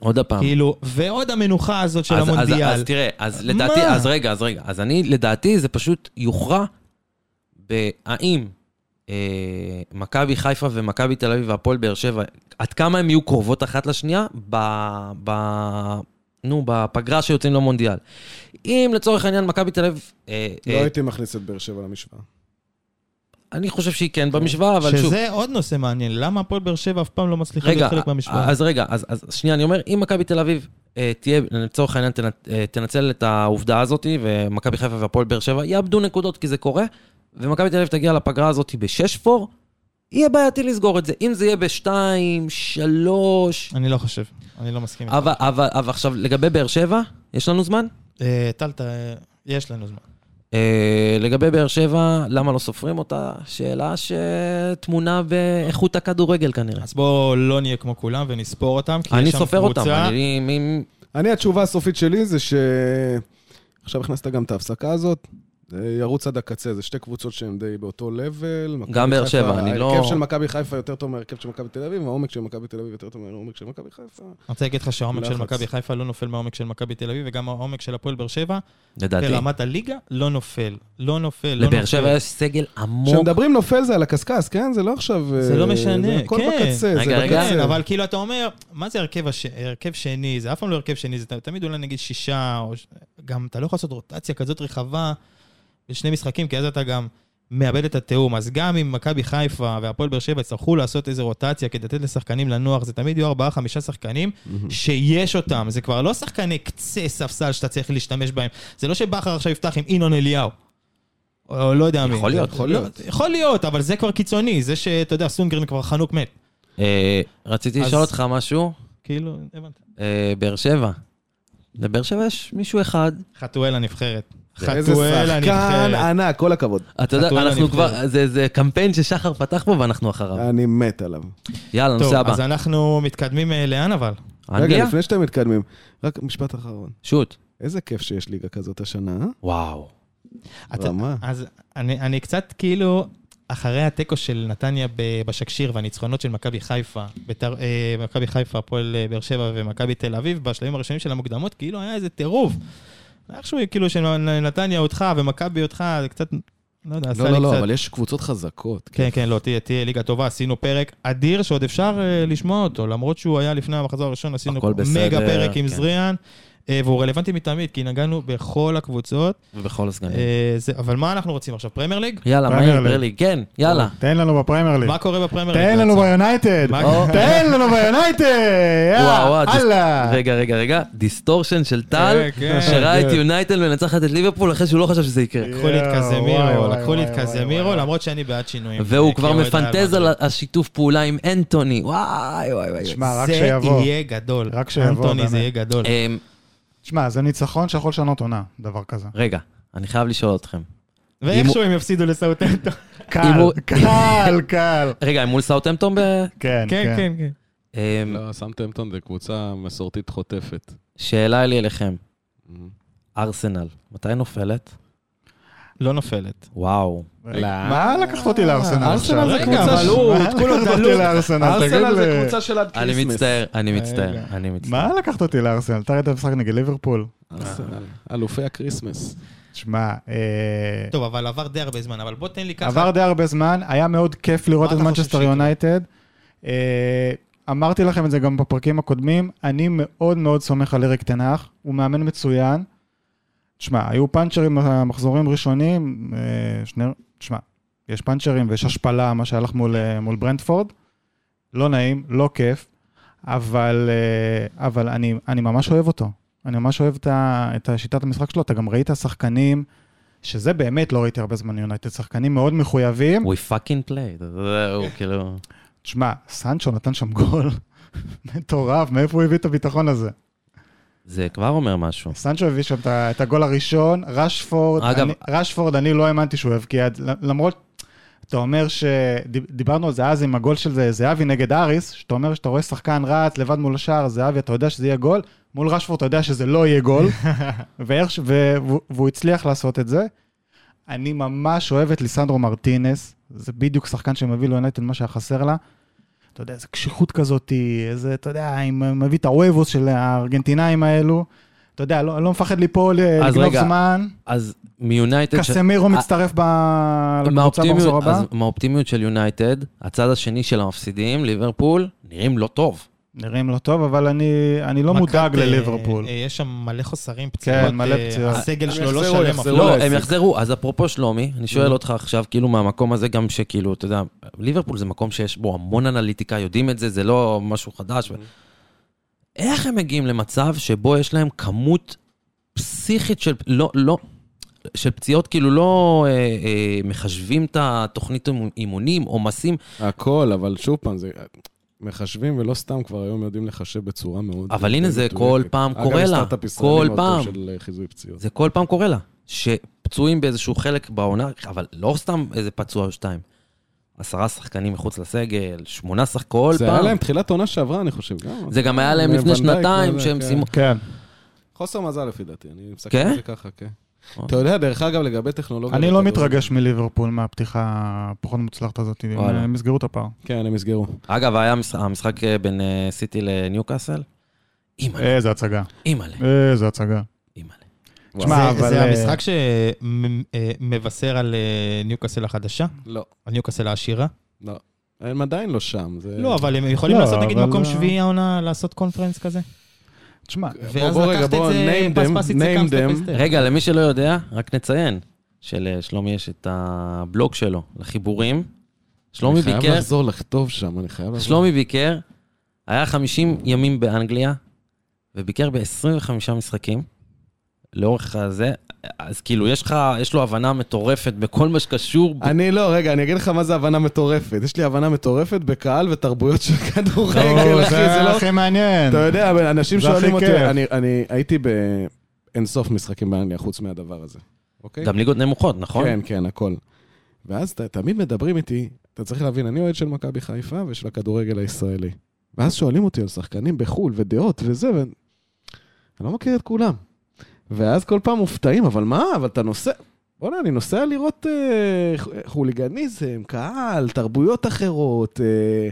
עוד פעם. כאילו, ועוד המנוחה הזאת של אז, אז, המונדיאל. אז תראה, אז לדעתי, מה? אז רגע, אז רגע. אז אני, לדעתי, זה פשוט יוכרע בהאם אה, מכבי חיפה ומכבי תל אביב והפועל באר שבע, עד כמה הן יהיו קרובות אחת לשנייה ב... ב... נו, בפגרה שיוצאים למונדיאל. אם לצורך העניין מכבי תל אביב... אה, לא אה, הייתי מכניס את באר שבע למשוואה. אני חושב שהיא כן במשוואה, אבל שוב... שזה עוד נושא מעניין, למה הפועל באר שבע אף פעם לא מצליחה רגע, להיות חלק מהמשוואה? אז רגע, אז, אז שנייה, אני אומר, אם מכבי תל אביב אה, תהיה, לצורך העניין, תנ- אה, תנצל את העובדה הזאת, ומכבי חיפה והפועל באר שבע יאבדו נקודות כי זה קורה, ומכבי תל אביב תגיע לפגרה הזאת בשש פור, יהיה בעייתי לסגור את זה. אם זה יהיה בשתיים, שלוש... אני לא חושב, אני לא מסכים איתך. אבל, אבל, אבל עכשיו, לגבי באר שבע, יש לנו זמן? אה, טל, ת- אה, יש לנו זמן. אה, לגבי באר שבע, למה לא סופרים אותה? שאלה שטמונה באיכות הכדורגל כנראה. אז בואו לא נהיה כמו כולם ונספור אותם, כי אני יש שם סופר אותם, קבוצה. אני... מי- אני, התשובה הסופית שלי זה ש... עכשיו הכנסת גם את ההפסקה הזאת. זה ירוץ עד הקצה, זה שתי קבוצות שהן די באותו לבל. מכבי גם באר חיפה- שבע, אני לא- ההרכב של מכבי חיפה יותר טוב מההרכב של מכבי תל אביב, העומק של מכבי תל אביב יותר טוב מהעומק של מכבי חיפה. אני רוצה להגיד לך שהעומק של לחץ. מכבי חיפה לא נופל מהעומק של מכבי תל אביב, וגם העומק של הפועל באר שבע, לדעתי. ברמת הליגה, לא נופל. לא נופל, לא לבאר שבע נופל. יש סגל עמוק. כשמדברים נופל זה על הקשקש, כן? זה לא עכשיו... זה לא משנה, זה הכל כן. בקצה, זה רגע, רגע. כן, בקצה. אבל כאילו אתה אומר, מה זה הרכב, הש... הרכב שני? זה אף פעם לא הרכב שני, זה ת- תמיד אולי נגיד שישה, או... ש- גם אתה לא יכול לעשות רוטציה כזאת רחבה בשני משחקים, כי אז אתה גם מאבד את התיאום. אז גם אם מכבי חיפה והפועל באר שבע יצטרכו לעשות איזו רוטציה כדי לתת לשחקנים לנוח, זה תמיד יהיו ארבעה, חמישה שחקנים Mm. שיש אותם. זה כבר לא שחקני קצה ספסל שאתה צריך להשתמש בהם. זה לא שבכר עכשיו יפתח עם ינון אליהו. או לא יודע מי. יכול להיות, זה- יכול לא- להיות. יכול להיות, אבל זה כבר קיצוני. זה שאתה יודע, סונגרן כבר חנוק מת. אה, רציתי אז- לשאול אותך משהו, כאילו, הבנתי. אה, באר שבע. לבאר שבע יש מישהו אחד. חתואל הנבחרת. איזה חתואל שחקן הנבחרת. ענק, כל הכבוד. אתה יודע, חתואל אנחנו הנבחרת. כבר, זה- זה קמפיין ששחר פתח בו ואנחנו אחריו. אני מת עליו. יאללה, אה, טוב, נושא הבא. אז אנחנו מתקדמים אה, לאן אבל? אנגליה? רגע, לפני שאתם מתקדמים, רק משפט אחרון. שוט. איזה כיף שיש ליגה כזאת השנה, אה? וואו. אתה- רמה. אז אני אני קצת כאילו... אחרי התיקו של נתניה ב- בשקשיר והניצחונות של מכבי חיפה, ביתר- אה, מכבי חיפה, הפועל אה, באר שבע ומכבי תל אביב, בשלבים הראשונים של המוקדמות, כאילו היה איזה טירוף. איכשהו, כאילו, שנתניה אותך ומכבי אותך, זה קצת, לא יודע, עשה לא, לי לא, קצת... לא, אבל יש קבוצות חזקות. כן, כן, לא, תהיה, תהיה ליגה טובה, עשינו פרק אדיר שעוד אפשר אה, לשמוע אותו, למרות שהוא היה לפני המחזור הראשון, עשינו הכל בסדר, מגה פרק עם כן. זריאן, אה, והוא רלוונטי מתמיד, כי נגענו בכל הקבוצות, ובכל הסגנים. אה, זה- אבל מה אנחנו רוצים עכשיו, פרמייר ליג? יאללה, פרמייר מהר, ליג. ברלי, כן, יאללה. תן לנו בפריימר ליג. מה קורה בפרמייר ליג? תן לנו בעצם? ביונייטד. מה- תן לנו ביונייטד. וואו, יאללה. וואו, דיס- הלאה. רגע, רגע, רגע, דיסטורשן של כן, טל, אה. כן. שראה את כן. יונייטל מנצחת את ליברפול אחרי שהוא לא חשב שזה יקרה. לקחו לי את יואו, וואי, קזמירו, וואי, לקחו לי את וואי, קזמירו, וואי, למרות שאני בעד שינויים. והוא אה, כבר כאוהד ריאל מפנטז על מדריד. השיתוף פעולה עם אנטוני, וואי, וואי, וואי. שמע, רק שיבוא. זה יהיה גדול. רק שיבוא, אנטוני, באמת. זה יהיה גדול. אמ, תשמע, זה ניצחון שיכול לשנות עונה, דבר כזה. רגע, אני חייב לשאול אתכם. ואיכשהו הם יפסידו לסאוטנטון. קל, הוא- קל, קל. רגע, הם מול סאוטהמפטון ב... כן, כן, כן. כן, כן. אמ, לא, סמטמפטון זה קבוצה מסורתית חוטפת. שאלה לי אליכם, ארסנל, מתי נופלת? לא נופלת. וואו. מה לקחת אותי לארסנל עכשיו? אה, ארסנל זה רגע, קבוצה אבל ש- הוא, מה את כולו לקחת אותי דלוק. לארסנל? תגיד ארסנל זה לי. קבוצה של עד אני כריסמס. מצטער, אני מצטער, רגע. אני מצטער. מה לקחת אותי לארסנל? אתה ראית משחק נגד ליברפול? ארסנל, אלופי הקריסמס. תשמע, אה, טוב, אבל עבר די הרבה זמן, אבל בוא תן לי ככה. עבר די הרבה זמן, היה מאוד כיף לראות מה את אתה חושב מנצ'סטר שיקרה? יונייטד. אה, אמרתי לכם את זה גם בפרקים הקודמים, אני מאוד מאוד סומך על אריק תנח, הוא מאמן מצוין. תשמע, היו פאנצ'רים במחזורים ראשונים, אה, שני... תשמע, יש פאנצ'רים ויש השפלה, מה שהלך מול, אה, מול ברנדפורד. לא נעים, לא כיף, אבל, אה, אבל אני, אני ממש אוהב אותו. אני ממש אוהב את, ה, את השיטת המשחק שלו. אתה גם ראית שחקנים, שזה באמת לא ראיתי הרבה זמן יונייטד, שחקנים מאוד מחויבים. We fucking played, זהו, כאילו... תשמע, סנצ'ו נתן שם גול מטורף, מאיפה הוא הביא את הביטחון הזה? זה כבר אומר משהו. סנצ'ו הביא שם את ה- את הגול הראשון, רשפורד, אגב- אני, רשפורד, אני לא האמנתי שהוא הבקיע, את- למרות, אתה אומר שדיברנו על זה אז עם הגול של זה- זהבי נגד אריס, שאתה אומר שאתה רואה שחקן רץ לבד מול השער, זהבי, אתה יודע שזה יהיה גול, מול רשפורד אתה יודע שזה לא יהיה גול, ואיך, ש- ו, והוא- והוא הצליח לעשות את זה. אני ממש אוהב את ליסנדרו מרטינס, זה בדיוק שחקן שמביא ליונטד מה שהיה חסר לה. אתה יודע, איזה קשיחות כזאת, איזה, אתה יודע, עם- אה, מביא את הוובוס של הארגנטינאים האלו. אתה יודע, לא, לא מפחד ליפול, אז לגנוב רגע, זמן. אז מיונייטד... ש- קסמירו אה, מצטרף ב... לקבוצה מהאופטימיות- במחזור הבא. אז מהאופטימיות של יונייטד, הצד השני של המפסידים, ליברפול, נראים לא טוב. נראים לא טוב, אבל אני, אני לא מכת, מודאג אה, לליברפול. כן, אה, יש שם מלא חוסרים, פציעות. מלא אה, פציעות. הסגל הם שלו לא יחזרו, שלם יחזרו. Mm-hmm. אפילו. לא, להסיק. הם יחזרו. אז אפרופו שלומי, אני שואל אותך עכשיו, כאילו מהמקום הזה גם שכאילו, אתה יודע, ליברפול זה מקום שיש בו המון אנליטיקה, יודעים את זה, זה לא משהו חדש. ו- Mm-hmm. איך הם מגיעים למצב שבו יש להם כמות פסיכית של, לא, לא, של פציעות, כאילו לא אה, אה, מחשבים את התוכנית אימונים, עומסים, הכל, אבל שוב פעם, זה... מחשבים ולא סתם, כבר היום יודעים לחשב בצורה מאוד... אבל הנה, זה מדויקת. כל פעם קורה לה. אגב, יש סטארט-אפ ישראלי כל מאוד טוב פעם. של אה, חיזוי פציעות. זה כל פעם קורה לה, שפצועים באיזשהו חלק בעונה, אבל לא סתם איזה פצוע או שתיים. עשרה שחקנים מחוץ לסגל, שמונה שחק כל זה היה פעם. להם תחילת עונה שעברה, אני חושב, גם. זה גם היה להם ונדייק לפני שנתיים וזה, שהם כן. סיימו... כן. חוסר מזל לפי דעתי, אני מסתכל כן? אוקיי. על זה ככה, כן. אתה יודע, דרך אגב, לגבי טכנולוגיה... אני לא בכדורגל- מתרגש מליברפול מהפתיחה הפחות מוצלחת הזאת, הם- וואלה. הם יסגרו את הפער. כן, הם יסגרו. אגב, היה המשחק- המשחק אה, בין אה, סיטי לניוקאסל? אימא'לה, איזה הצגה, אימא'לה, איזה הצגה. אימא'לה. תשמע, זה- אבל, זה אה, המשחק שמבשר על אה, ניוקאסל החדשה, לא, על ניוקאסל העשירה. לא. הם עדיין לא שם. זה... לא, אבל הם יכולים לא, לעשות נגיד אבל- מקום שביעי העונה, לעשות קונפרנס כזה. תשמע, ואז לקחת את זה פספסית, סיכמת, פספסת. רגע, למי שלא יודע, רק נציין שלשלומי יש את הבלוג שלו לחיבורים. שלומי אני חייב ביקר, לחזור לכתוב שם, אני חייב לעבור. שלומי ביקר, היה 50 ימים באנגליה, וביקר ב-25 משחקים. לאורך הזה, אז כאילו, יש לך, יש לו הבנה מטורפת בכל מה שקשור. ב- אני לא, רגע, אני אגיד לך מה זה הבנה מטורפת. יש לי הבנה מטורפת בקהל ותרבויות של כדורגל, אחי, זה לא... הכי מעניין. אתה יודע, אבל אנשים זה שואלים הכי אותי, כיף. אני- אני הייתי באינסוף משחקים באנגליה, חוץ מהדבר הזה, אוקיי? גם ליגות נמוכות, נכון? כן, כן, הכל. ואז ת- תמיד מדברים איתי, אתה צריך להבין, אני אוהד של מכבי חיפה ושל הכדורגל הישראלי. ואז שואלים אותי על שחקנים בחו"ל ודעות וזה, ואני לא מכיר את כולם. ואז כל פעם מופתעים, אבל מה, אבל אתה נוסע... בוא'נה, אני נוסע לראות אה, ח- חוליגניזם, קהל, תרבויות אחרות. אה,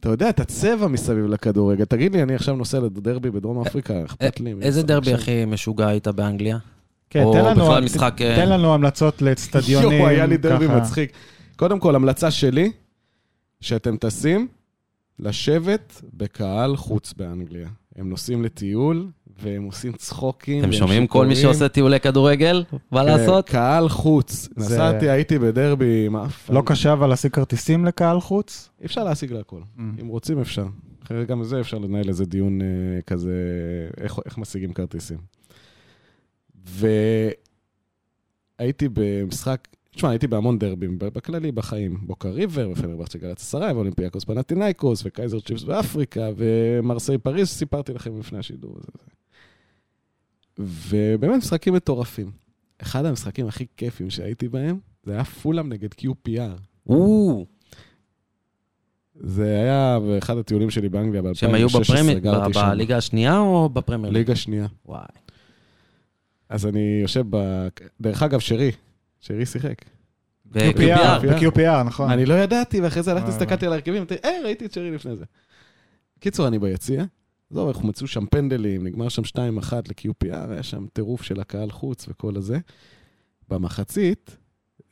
אתה יודע, את הצבע מסביב לכדורגל. תגיד לי, אני עכשיו נוסע לדרבי בדרום אפריקה, אכפת לי. מי אה, איזה יצא דרבי עכשיו? הכי משוגע היית באנגליה? כן, או תן לנו- בכלל משחק, אה, תן לנו המלצות לאצטדיונים. יואו, היה לי דרבי ככה. מצחיק. קודם כל, המלצה שלי, שאתם טסים, לשבת בקהל חוץ באנגליה. הם נוסעים לטיול, והם עושים צחוקים. אתם והם שומעים כל מי שיכורים. שעושה טיולי כדורגל? מה כן, לעשות? קהל חוץ. זה- נסעתי, הייתי בדרבי עם אף... לא קשה אבל להשיג כרטיסים לקהל חוץ? אי אפשר להשיג להכל. Mm-hmm. אם רוצים, אפשר. אחרי גם זה אפשר לנהל איזה דיון אה, כזה, איך, איך משיגים כרטיסים. והייתי במשחק, תשמע, הייתי בהמון דרבים, ב- בכללי, בחיים. בוקה ריבר, ופנרבכצ'ה גלת עשרה, ואולימפיאקוס פנטינאיקוס, וקייזר צ'יפס באפריקה, ומרסיי פריז, סיפרתי לכם לפני השידור הזה. ובאמת משחקים מטורפים. אחד המשחקים הכי כיפים שהייתי בהם, זה היה פולאם נגד QPR. או, זה היה באחד הטיולים שלי באנגליה ב-2016. שהם היו בפרמיית, גרתי ב- שם. בליגה השנייה או בפרמייר? ליג? ליגה שנייה. וואי. אז אני יושב ב... דרך אגב, שרי. שרי שיחק. אה, ו-QPR. ב-QPR, נכון. אני לא ידעתי, ואחרי זה הלכתי, וואי, הסתכלתי על הרכבים, אמרתי, אה, ראיתי את שרי לפני זה. קיצור, אני ביציע. עזוב, אנחנו מצאו שם פנדלים, נגמר שם 2-1 ל-QPR, היה שם טירוף של הקהל חוץ וכל הזה. במחצית,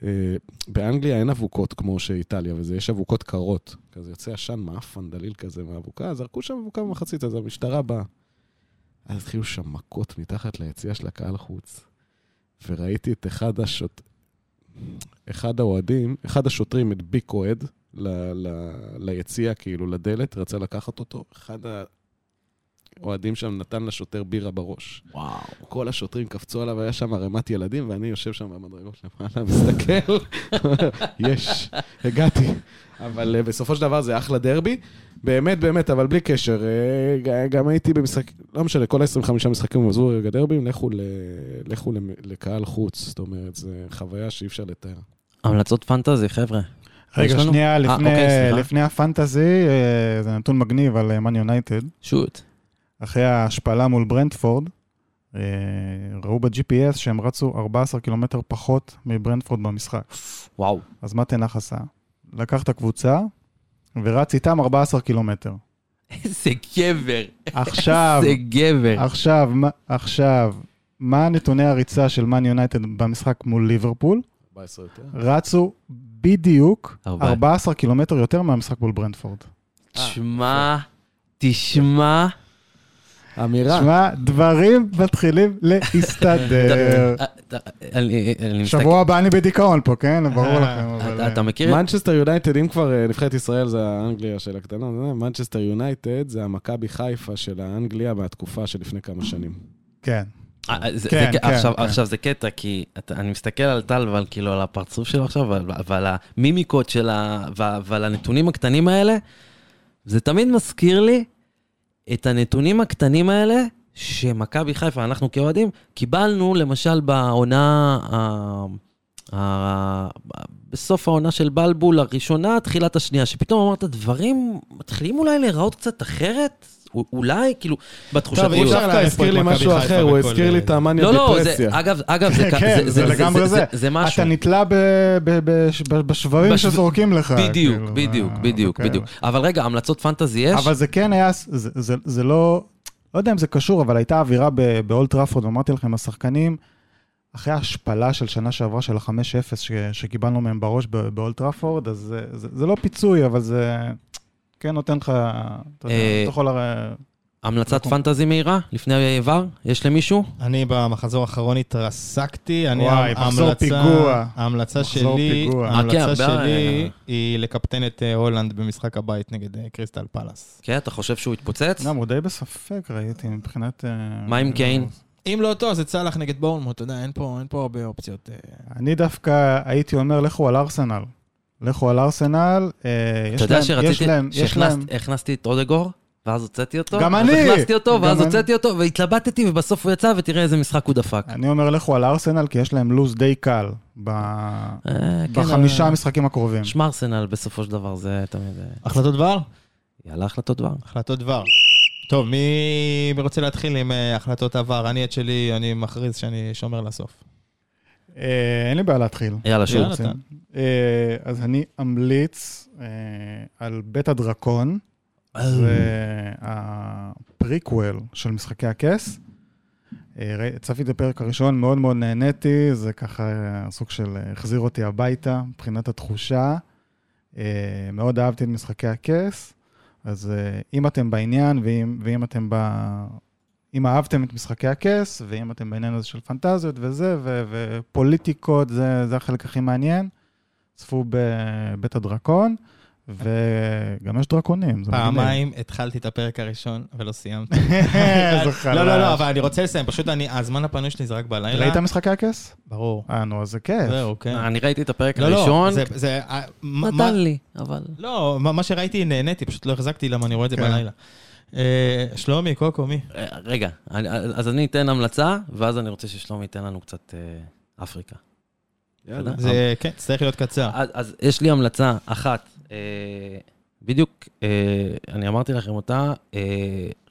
אה, באנגליה אין אבוקות כמו שאיטליה, וזה יש אבוקות קרות. כזה יוצא עשן מאפן דליל כזה מהאבוקה, אז זרקו שם אבוקה במחצית, אז המשטרה באה. אז התחילו שם מכות מתחת ליציע של הקהל חוץ, וראיתי את אחד השוט... אחד האוהדים, אחד השוטרים הדביק אוהד ל- ל- ליציע, כאילו, לדלת, רצה לקחת אותו. אחד האוהדים שם נתן לשוטר בירה בראש. וואו. כל השוטרים קפצו עליו, היה שם ערימת ילדים, ואני יושב שם במדרגות למעלה, מסתכל, יש, הגעתי. אבל אה, בסופו של דבר זה אחלה דרבי. באמת, באמת, אבל בלי קשר. אה, ג- גם הייתי במשחק, לא משנה, כל ה-25 משחקים עזבו רגע דרבים, לכו, ל... לכו למ- לקהל חוץ. זאת אומרת, זו חוויה שאי אפשר לתאר. המלצות פנטזי, חבר'ה. רגע, יש לנו? שנייה, לפני- אוקיי, סליחה. לפני הפנטזי, אה, זה נתון מגניב על אה, Man United. שוט. אחרי ההשפלה מול ברנדפורד, אה, ראו ב-GPS שהם רצו 14 קילומטר פחות מברנדפורד במשחק. וואו. אז מה תנח עשה? לקח את הקבוצה ורץ איתם 14 קילומטר. איזה גבר. עכשיו, איזה גבר. עכשיו, מה- עכשיו, מה נתוני הריצה של מאן יונייטד במשחק מול ליברפול? 14 יותר? רצו בדיוק ארבע. 14 קילומטר יותר מהמשחק מול ברנדפורד. תשמע, תשמע. אמירה. תשמע, דברים מתחילים להסתדר. אתה- אני- אני מסתכל- אה, שבוע הבא אני בדיכאון פה, כן? ברור אה, לכם, אבל... אתה- אתה מכיר את... מנצ'סטר יונייטד, אם כבר אה, נבחרת ישראל זה האנגליה של הקטנה, מנצ'סטר יונייטד זה המכבי חיפה של האנגליה מהתקופה שלפני כמה שנים. כן. אה, זה- זה- כן, כן, עכשיו- כן. עכשיו זה קטע, כי אתה- אני מסתכל על טל ועל כאילו על הפרצוף שלו עכשיו, ועל- ועל המימיקות של ה... וה- ועל הנתונים הקטנים האלה, זה תמיד מזכיר לי את הנתונים הקטנים האלה שמכבי חיפה, אנחנו כאוהדים, קיבלנו למשל בעונה, ה- ה- בסוף העונה של בלבול הראשונה, תחילת השנייה, שפתאום אמרת, דברים מתחילים אולי להיראות קצת אחרת? א- אולי, כאילו, בתחושה... טוב, אי כאילו- אפשר דווקא הזכיר לי להעיף פה את משהו מכבי אחר, חיפה הוא בכל- אה, הזכיר לי את המאניה לא, לא, זה, דיפרסיה. אגב, אגב, זה, כן, זה, זה לגמרי זה. זה משהו. אתה נתלה ב- ב- ב- ב- בשברים בשב- שזורקים לך. בדיוק, כאילו, בדיוק, אה, בדיוק, וכאלה. בדיוק. אבל רגע, המלצות פנטזי יש? אבל זה כן היה, זה- זה- זה לא, לא יודע אם זה קשור, אבל הייתה אווירה ב- באולט טראפורד, ואמרתי לכם, השחקנים, אחרי ההשפלה של שנה שעברה של ה-5-0 ש- שקיבלנו מהם בראש ב- באולט טראפורד, אז זה- זה זה לא פיצוי, אבל זה כן נותן לך, אתה יודע, אה, אתה יכול הרי... המלצת נכון. פנטזי מהירה? לפני ור? יש למישהו? אני במחזור האחרון התרסקתי, אני וואי, ההמלצה- מחזור פיגוע. ההמלצה מחזור שלי, פיגוע. אה, ההמלצה כן, הרבה- שלי היא לקפטן את אה, הולנד במשחק הבית נגד אה, קריסטל פלאס. כן, אתה חושב שהוא התפוצץ? גם הוא די בספק, ראיתי, מבחינת... אה, מה עם קיין? אם לא אותו, אז זה צלח נגד בורנמוט, אתה יודע, אין פה אין פה הרבה אופציות. אה. אני דווקא הייתי אומר, לכו על ארסנל. לכו על ארסנל, אה, יש אתה יודע להם- יש שרציתי, להם, יש להם. שהכנסתי את אודגור, ואז הוצאתי אותו. גם ואז אני! הכנסתי אותו, גם ואז אני. הוצאתי אותו, והתלבטתי, ובסוף הוא יצא, ותראה איזה משחק הוא דפק. אני אומר לכו על ארסנל, כי יש להם לוז די קל ב- אה, כן, בחמישה אבל- המשחקים הקרובים. שמע ארסנל בסופו של דבר, זה תמיד... אה, החלטות דבר? יאללה, החלטות דבר. החלטות דבר. טוב, מי מי רוצה להתחיל עם אה, החלטות עבר? אני את שלי, אני מכריז שאני שומר לסוף. אה, אין לי בעיה להתחיל. יאללה, שוב. יאללה. נתן. אה, אז אני אמליץ אה, על בית הדרקון, אה. זה הפריקוול של משחקי הכס. אה, ראי- צפיתי את הפרק הראשון, מאוד מאוד נהניתי, זה ככה אה, סוג של אה, החזיר אותי הביתה מבחינת התחושה. אה, מאוד אהבתי את משחקי הכס, אז אה, אם אתם בעניין ואם, ואם אתם ב... אם אהבתם את משחקי הכס, ואם אתם בעניין הזה של פנטזיות וזה, ו- ופוליטיקות, זה, זה החלק הכי מעניין, צפו בבית הדרקון, וגם יש דרקונים, זה מגניב. פעמיים התחלתי את הפרק הראשון ולא סיימתי. איזה חלש. לא, לא, לא, אבל אני רוצה לסיים, פשוט אני- הזמן הפנוי שלי זה רק בלילה. ראית משחקי הכס? ברור. אה, נו, אז זה כיף. זהו, כן. אני ראיתי את הפרק לא, לא, הראשון. זה- זה... אה, מה- מה- נתן לי, אבל... לא, מה מה שראיתי נהניתי, פשוט לא החזקתי למה אני רואה את זה כן. בלילה. אה, שלומי, קוקו, מי? אה, רגע, אני- אז אני אתן המלצה, ואז אני רוצה ששלומי ייתן לנו קצת אה, אפריקה. יאללה. אה? אה, זה, כן, צריך להיות קצר. אז, אז יש לי המלצה אחת, אה, בדיוק, אה, אני אמרתי לכם אותה, אה,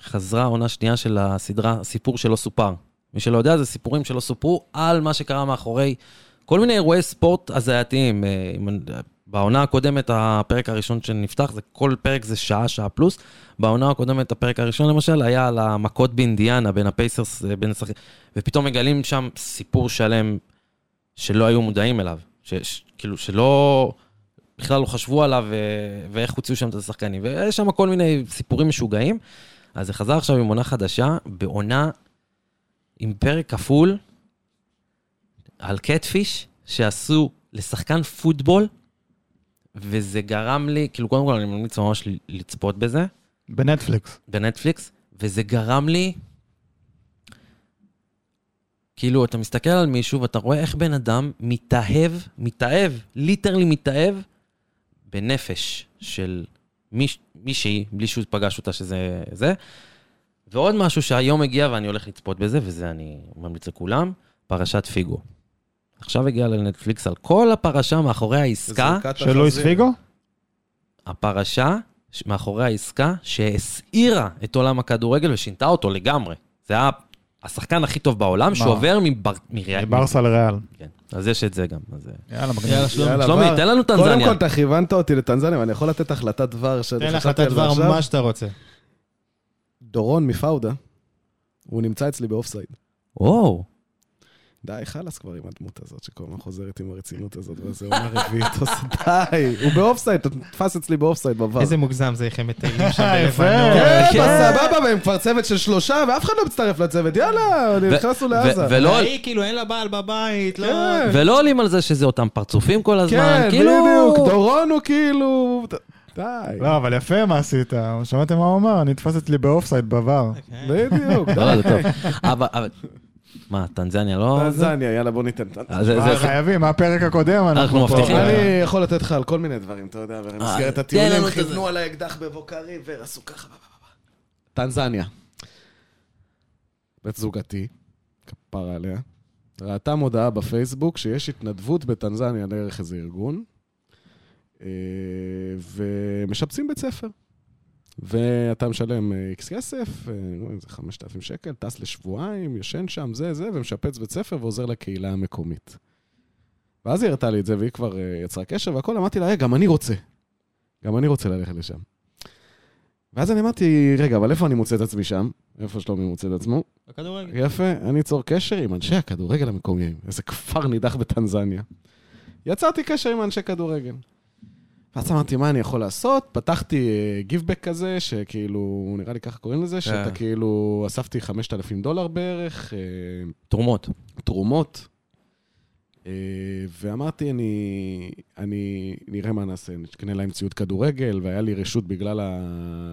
חזרה עונה שנייה של הסדרה, סיפור שלא סופר. מי שלא יודע, זה סיפורים שלא סופרו על מה שקרה מאחורי כל מיני אירועי ספורט הזייתיים. אה, אם אני- בעונה הקודמת, הפרק הראשון שנפתח, זה כל פרק זה שעה, שעה פלוס. בעונה הקודמת, הפרק הראשון למשל, היה על המכות באינדיאנה, בין הפייסרס, אה, בין השחק... ופתאום מגלים שם סיפור שלם שלא היו מודעים אליו. ש, ש, כאילו, שלא... בכלל לא חשבו עליו ו- ואיך הוציאו שם את השחקנים. ויש שם כל מיני סיפורים משוגעים. אז זה חזר עכשיו עם עונה חדשה, בעונה עם פרק כפול על קטפיש שעשו לשחקן פוטבול, וזה גרם לי, כאילו, קודם כל אני ממליץ ממש ל- לצפות בזה. בנטפליקס. בנטפליקס, וזה גרם לי... כאילו, אתה מסתכל על מישהו ואתה רואה איך בן אדם מתאהב, מתאהב, ליטרלי מתאהב, בנפש של מיש, מישהי, בלי שהוא פגש אותה שזה זה. ועוד משהו שהיום הגיע ואני הולך לצפות בזה, וזה אני ממליץ לכולם, פרשת פיגו. עכשיו הגיע לנטפליקס על כל הפרשה מאחורי העסקה. של לואיס פיגו? הפרשה ש- מאחורי העסקה שהסעירה את עולם הכדורגל ושינתה אותו לגמרי. זה היה השחקן הכי טוב בעולם שעובר מבר... מריאל. מברסה לריאל. כן. אז יש את זה גם. אז... אה, יאללה, מגניב. יאללה, שלומי. יאללה, שלומי, בר. תן לנו קודם טנזניה. כל, אתה כיוונת אותי לטנזניה, ואני יכול לתת החלטת דבר שאני תן חשבתי החלטת על זה דבר עכשיו. מה שאתה רוצה. דורון מפאודה, הוא נמצא אצלי באופסייד. וואו, די, חלאס כבר עם הדמות הזאת, שכל הזמן חוזרת עם הרצינות הזאת, וזה עונה רביעית, עושה די, הוא באופסייד, אתה נתפס אצלי באופסייד בבר. איזה מוגזם זה איך הם מטיילים שם יפה. בלבנון. כן, כן. אז סבבה, והם כבר צוות של שלושה, ואף אחד לא מצטרף לצוות, יאללה, נכנסנו לעזה. ו- ולא- והיא כאילו אין לה בעל בבית, לא... כן. ולא עולים על זה שזה אותם פרצופים כל הזמן, כן, כאילו... בדיוק, דורון הוא כאילו... די, לא, אבל יפה מה עשית. שמעתם מה הוא אמר? נתפס אצלי באופסייד בבר. בדיוק. לא, זה טוב. אבל, אבל... מה, טנזניה לא... טנזניה, יאללה, בוא ניתן טנזניה. אז זה- אה, זה- חייבים, מהפרק הקודם אנחנו פה. מבטיחים. אני- אני יכול לתת לך על כל מיני דברים, אתה יודע, במסגרת תן הטיולים לנו את כיוונו זה. על האקדח בבוקע ריבר, עשו ככה. בא, בא, בא. טנזניה. בת זוגתי, כפרה עליה, ראתה מודעה בפייסבוק שיש התנדבות בטנזניה דרך איזה ארגון, אה, ומשפצים בית ספר. ואתה משלם אה, איקס כסף, אה, לא יודע, זה 5,000 שקל, טס לשבועיים, ישן שם, זה, זה, ומשפץ בית ספר ועוזר לקהילה המקומית. ואז היא הראתה לי את זה, והיא כבר אה, יצרה קשר והכל, אמרתי לה, "היי, גם אני רוצה. גם אני רוצה ללכת לשם. ואז אני אמרתי, רגע, אבל איפה אני מוצא את עצמי שם? איפה שלומי מוצא את עצמו? בכדורגל. יפה, אני אצור קשר עם אנשי הכדורגל המקומיים. איזה כפר נידח בטנזניה. יצרתי קשר עם אנשי כדורגל. ואז אמרתי, מה אני יכול לעשות? פתחתי אה, גיבבק כזה, שכאילו, נראה לי ככה קוראים לזה, שאתה כאילו, אספתי 5,000 דולר בערך, אה, תרומות. תרומות. אה, ואמרתי, אני, אני, נראה מה נעשה, נקנה להם ציוד כדורגל, והיה לי רשות בגלל ה...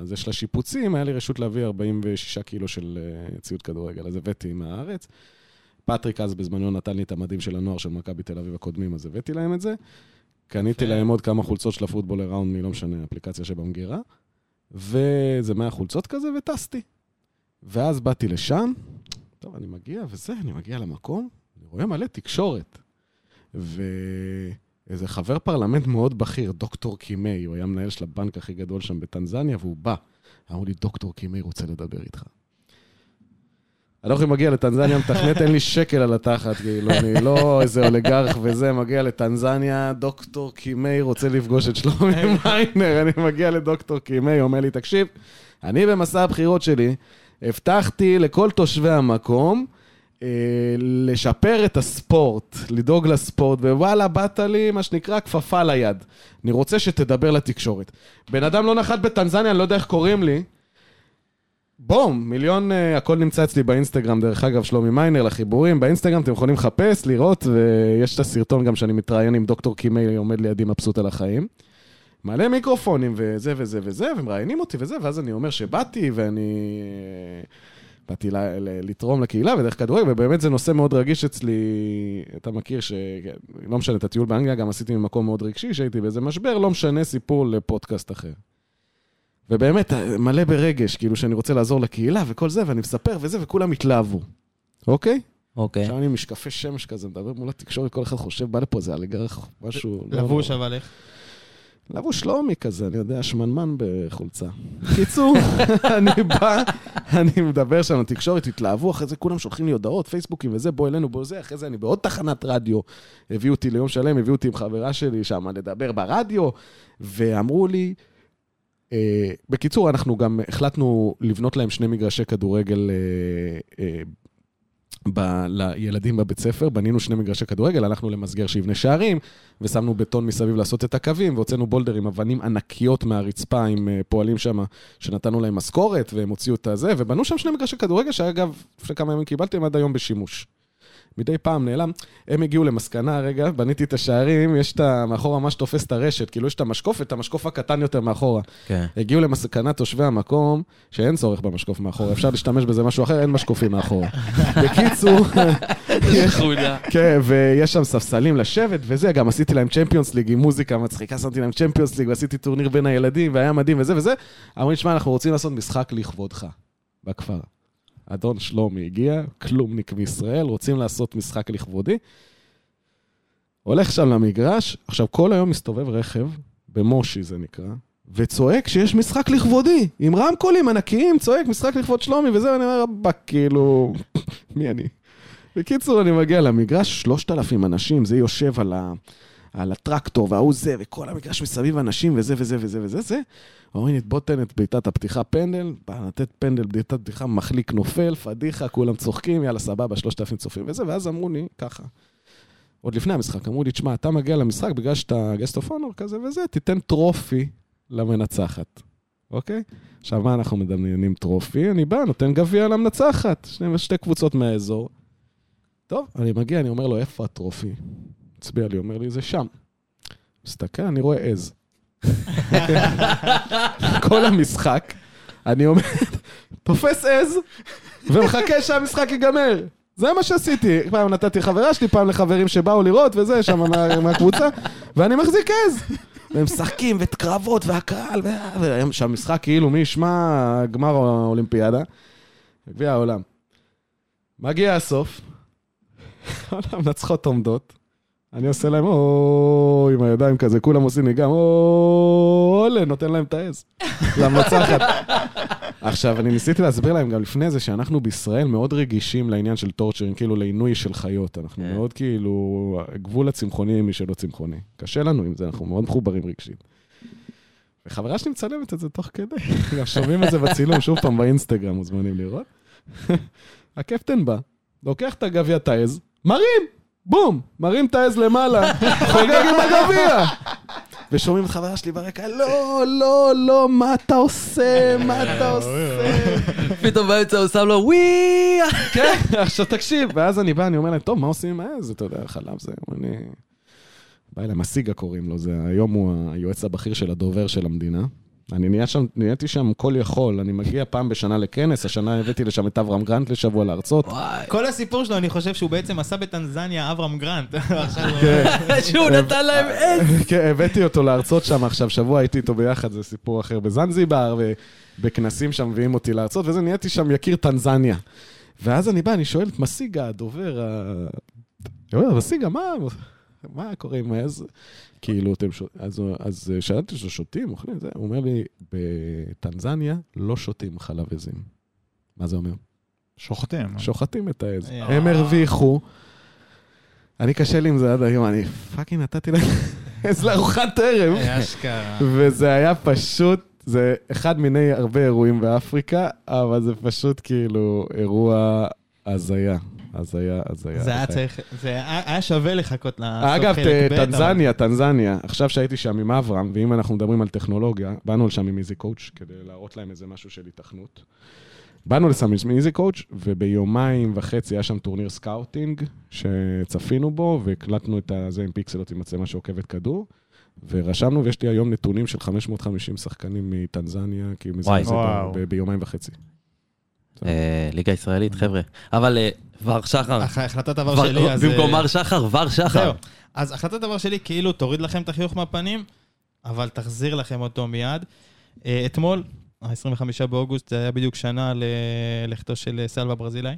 זה של השיפוצים, היה לי רשות להביא 46 קילו של אה, ציוד כדורגל, אז הבאתי מהארץ. פטריק אז בזמנו נתן לי את המדים של הנוער של מכבי תל אביב הקודמים, אז הבאתי להם את זה. קניתי יפה. להם עוד כמה חולצות של הפוטבול הראונד, מלא משנה, אפליקציה שבמגירה. וזה 100 חולצות כזה, וטסתי. ואז באתי לשם, טוב, אני מגיע וזה, אני מגיע למקום, אני רואה מלא תקשורת. ואיזה חבר פרלמנט מאוד בכיר, דוקטור קימי, הוא היה מנהל של הבנק הכי גדול שם בטנזניה, והוא בא. אמרו לי, דוקטור קימי רוצה לדבר איתך. אני לא יכול מגיע לטנזניה, מתכנת, אין לי שקל על התחת, כאילו, אני לא איזה אוליגרך וזה, מגיע לטנזניה, דוקטור קימי רוצה לפגוש את שלומי מיינר, אני מגיע לדוקטור קימי, אומר לי, תקשיב, אני במסע הבחירות שלי, הבטחתי לכל תושבי המקום אה, לשפר את הספורט, לדאוג לספורט, ווואלה, באת לי, מה שנקרא, כפפה ליד. אני רוצה שתדבר לתקשורת. בן אדם לא נחת בטנזניה, אני לא יודע איך קוראים לי. בום, מיליון, אה, הכל נמצא אצלי באינסטגרם, דרך אגב, שלומי מיינר, לחיבורים. באינסטגרם אתם יכולים לחפש, לראות, ויש את הסרטון גם שאני מתראיין עם דוקטור קימי, עומד לידי מבסוט על החיים. מלא מיקרופונים וזה וזה וזה, ומראיינים אותי וזה, ואז אני אומר שבאתי ואני... אה, באתי ל- ל- לתרום לקהילה ודרך כדורגל, ובאמת זה נושא מאוד רגיש אצלי. אתה מכיר ש... לא משנה, את הטיול באנגליה גם עשיתי ממקום מאוד רגשי, שהייתי באיזה משבר, לא משנה סיפור לפודקאסט אחר. ובאמת, אה, מלא ברגש, כאילו שאני רוצה לעזור לקהילה וכל זה, ואני מספר וזה, וכולם התלהבו. אוקיי? אוקיי. עכשיו אני עם משקפי שמש כזה, מדבר מול התקשורת, כל אחד חושב, בא לפה איזה אלגרך, משהו... לא לבוש נורא. אבל איך. לבוש שלומי כזה, אני יודע, שמנמן בחולצה. קיצור, אני בא, אני מדבר שם, התקשורת התלהבו, אחרי זה כולם שולחים לי הודעות, פייסבוקים וזה, בוא אלינו, בוא זה, אחרי זה אני בעוד תחנת רדיו. הביאו אותי ליום שלם, הביאו אותי עם חברה שלי שם לדבר ברדיו, ואמרו לי... אה, בקיצור, אנחנו גם החלטנו לבנות להם שני מגרשי כדורגל אה, אה, ב, לילדים בבית ספר, בנינו שני מגרשי כדורגל, הלכנו למסגר שיבנה שערים, ושמנו בטון מסביב לעשות את הקווים, והוצאנו בולדר עם אבנים ענקיות מהרצפה עם אה, פועלים שם, שנתנו להם משכורת, והם הוציאו את הזה, ובנו שם שני מגרשי כדורגל, שאגב, לפני כמה ימים קיבלתי, הם עד היום בשימוש. מדי פעם נעלם. הם הגיעו למסקנה, רגע, בניתי את השערים, יש את ה... מאחורה מה שתופס את הרשת, כאילו יש את המשקוף, את המשקוף הקטן יותר מאחורה. כן. הגיעו למסקנת תושבי המקום, שאין צורך במשקוף מאחורה, אפשר להשתמש בזה משהו אחר, אין משקופים מאחורה. בקיצור, יש- חולה. כן, ויש שם ספסלים לשבת וזה, גם עשיתי להם צ'מפיונס ליג עם מוזיקה מצחיקה, שמתי להם צ'מפיונס ליג ועשיתי טורניר בין הילדים, והיה מדהים וזה וזה. אמרו לי, שמע, אנחנו רוצים לעשות משחק לכבודך, בכפר. אדון שלומי הגיע, כלומניק מישראל, רוצים לעשות משחק לכבודי. הולך שם למגרש, עכשיו כל היום מסתובב רכב, במושי זה נקרא, וצועק שיש משחק לכבודי, עם רמקולים ענקיים, צועק משחק לכבוד שלומי, וזה, ואני אומר, רבאק, כאילו, מי אני? בקיצור, אני מגיע למגרש, 3,000 אנשים, זה יושב על, ה, על הטרקטור וההוא זה, וכל המגרש מסביב אנשים, וזה וזה וזה וזה זה. אומרים לי, בוא תן את בעיטת הפתיחה פנדל, בא לתת פנדל, בעיטת פתיחה, מחליק נופל, פדיחה, כולם צוחקים, יאללה, סבבה, 3,000 צופים וזה, ואז אמרו לי, ככה. עוד לפני המשחק, אמרו לי, תשמע, אתה מגיע למשחק בגלל שאתה גסט אוף אונור כזה וזה, תיתן טרופי למנצחת, אוקיי? עכשיו, מה אנחנו מדמיינים טרופי? אני בא, נותן גביע למנצחת, שני, שתי קבוצות מהאזור. טוב, אני מגיע, אני אומר לו, איפה הטרופי? הצביע לי, אומר לי, זה שם. מסתכל, אני רואה עז. כל המשחק, אני עומד, תופס עז, ומחכה שהמשחק ייגמר. זה מה שעשיתי. פעם נתתי חברה שלי, פעם לחברים שבאו לראות וזה, שם מה- מהקבוצה, ואני מחזיק עז. והם משחקים, וקרבות, והקהל, וה- וה- שהמשחק כאילו, מי ישמע, גמר האולימפיאדה, גביע העולם. מגיע הסוף, כל המנצחות עומדות, אני עושה להם או עם הידיים כזה, כולם עושים לי גם אולה, נותן להם את העז. למנצחת. עכשיו, אני ניסיתי להסביר להם גם לפני זה, שאנחנו בישראל מאוד רגישים לעניין של טורצ'רים, כאילו לעינוי של חיות. אנחנו כן. מאוד כאילו, גבול הצמחוני עם מי שלא צמחוני. קשה לנו עם זה, אנחנו מאוד מחוברים רגשית. וחברה שלי מצלמת את זה תוך כדי, גם שומעים את זה בצילום, שוב פעם באינסטגרם מוזמנים לראות. הקפטן בא, לוקח את הגביע, את העז, מרים! בום! מרים את העז למעלה, חוגג עם הגביע! ושומעים את חברה שלי ברקע, לא, לא, לא, מה אתה עושה? מה אתה עושה? פתאום באמצע הוא שם לו ווי! כן, עכשיו תקשיב, ואז אני בא, אני אומר להם, טוב, מה עושים עם העז? אתה יודע, חלב זה, אומרים לי... בא אליהם, הסיגה קוראים לו, זה, היום הוא היועץ הבכיר של הדובר של המדינה. אני נהיה שם, נהייתי שם כל יכול, אני מגיע פעם בשנה לכנס, השנה הבאתי לשם את אברהם גרנט לשבוע להרצות. וואי. כל הסיפור שלו, אני חושב שהוא בעצם עשה בטנזניה אברהם גרנט. עכשיו הוא- שהוא אה, נתן להם עז. כן, הבאתי אותו להרצות שם עכשיו, שבוע הייתי איתו ביחד, זה סיפור אחר בזנזיבר, ובכנסים שם מביאים אותי להרצות, וזה נהייתי שם יקיר טנזניה. ואז אני בא, אני שואל את מסיגה, הדובר, ה... אני אומר, מסיגה, מה, מה קורה עם העז? כאילו, אתם ש... אז, אז שאלתי אותו, שותים, אוכלים, זה? הוא אומר לי, בטנזניה לא שותים חלב עזים. מה זה אומר? שוחטים. שוחטים את העז. אה. הם הרוויחו. אני קשה לי עם זה עד היום, אני פאקינג נתתי להם עז לארוחת ערב. אה, אשכרה. וזה היה פשוט, זה אחד מיני הרבה אירועים באפריקה, אבל זה פשוט כאילו אירוע הזיה. הזיה, הזיה. זה היה הזיה. צריך, זה היה היה שווה לחכות לסוף אגב, ת- חלק ב', אבל- טנזניה, טנזניה, עכשיו שהייתי שם עם אברהם, ואם אנחנו מדברים על טכנולוגיה, באנו לשם עם איזי קואוץ' כדי להראות להם איזה משהו של היתכנות. באנו לשם עם איזי קואוץ', וביומיים וחצי היה שם טורניר סקאוטינג, שצפינו בו, והקלטנו את זה עם פיקסלות עם מצלמה שעוקבת כדור, ורשמנו, ויש לי היום נתונים של 550 שחקנים מטנזניה, כי הם וואי. מזרזים וואו. ב- ביומיים וחצי. אה, ליגה ישראלית, חבר'ה. אבל אה, ור שחר, הח- החלטת ור- עבר שלי, אז... לא, במקום אה, מר שחר, ור שחר. זהו. אז החלטת עבר שלי, כאילו, תוריד לכם את החיוך מהפנים, אבל תחזיר לכם אותו מיד. אה, אתמול, ה-25 באוגוסט, זה היה בדיוק שנה ללכתו של אה, סלווה ברזילאי,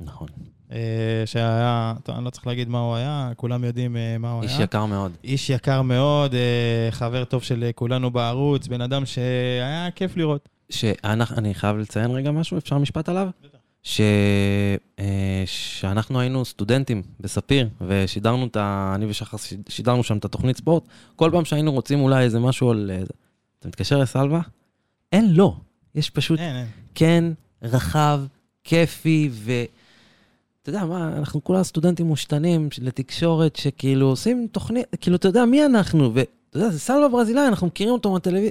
נכון. אה, שהיה, טוב, אני לא צריך להגיד מה הוא היה, כולם יודעים אה, מה הוא היה. איש יקר מאוד. איש יקר מאוד, אה, חבר טוב של אה, כולנו בערוץ, בן אדם שהיה כיף לראות. שאנחנו- אני חייב לציין רגע משהו, אפשר משפט עליו? ש... אה, שאנחנו היינו סטודנטים בספיר, ושידרנו את ה... אני ושחר שיד- שידרנו שם את התוכנית ספורט, כל פעם שהיינו רוצים אולי איזה משהו על... אה, זה, אתה מתקשר לסלווה? אין, לא. יש פשוט אין, אין. כן, רחב, כיפי, ו... אתה יודע מה, אנחנו כולה סטודנטים מושתנים לתקשורת, שכאילו עושים תוכנית, כאילו, אתה יודע מי אנחנו, ואתה יודע, זה סלווה ברזילאי, אנחנו מכירים אותו מהטלוויזיה.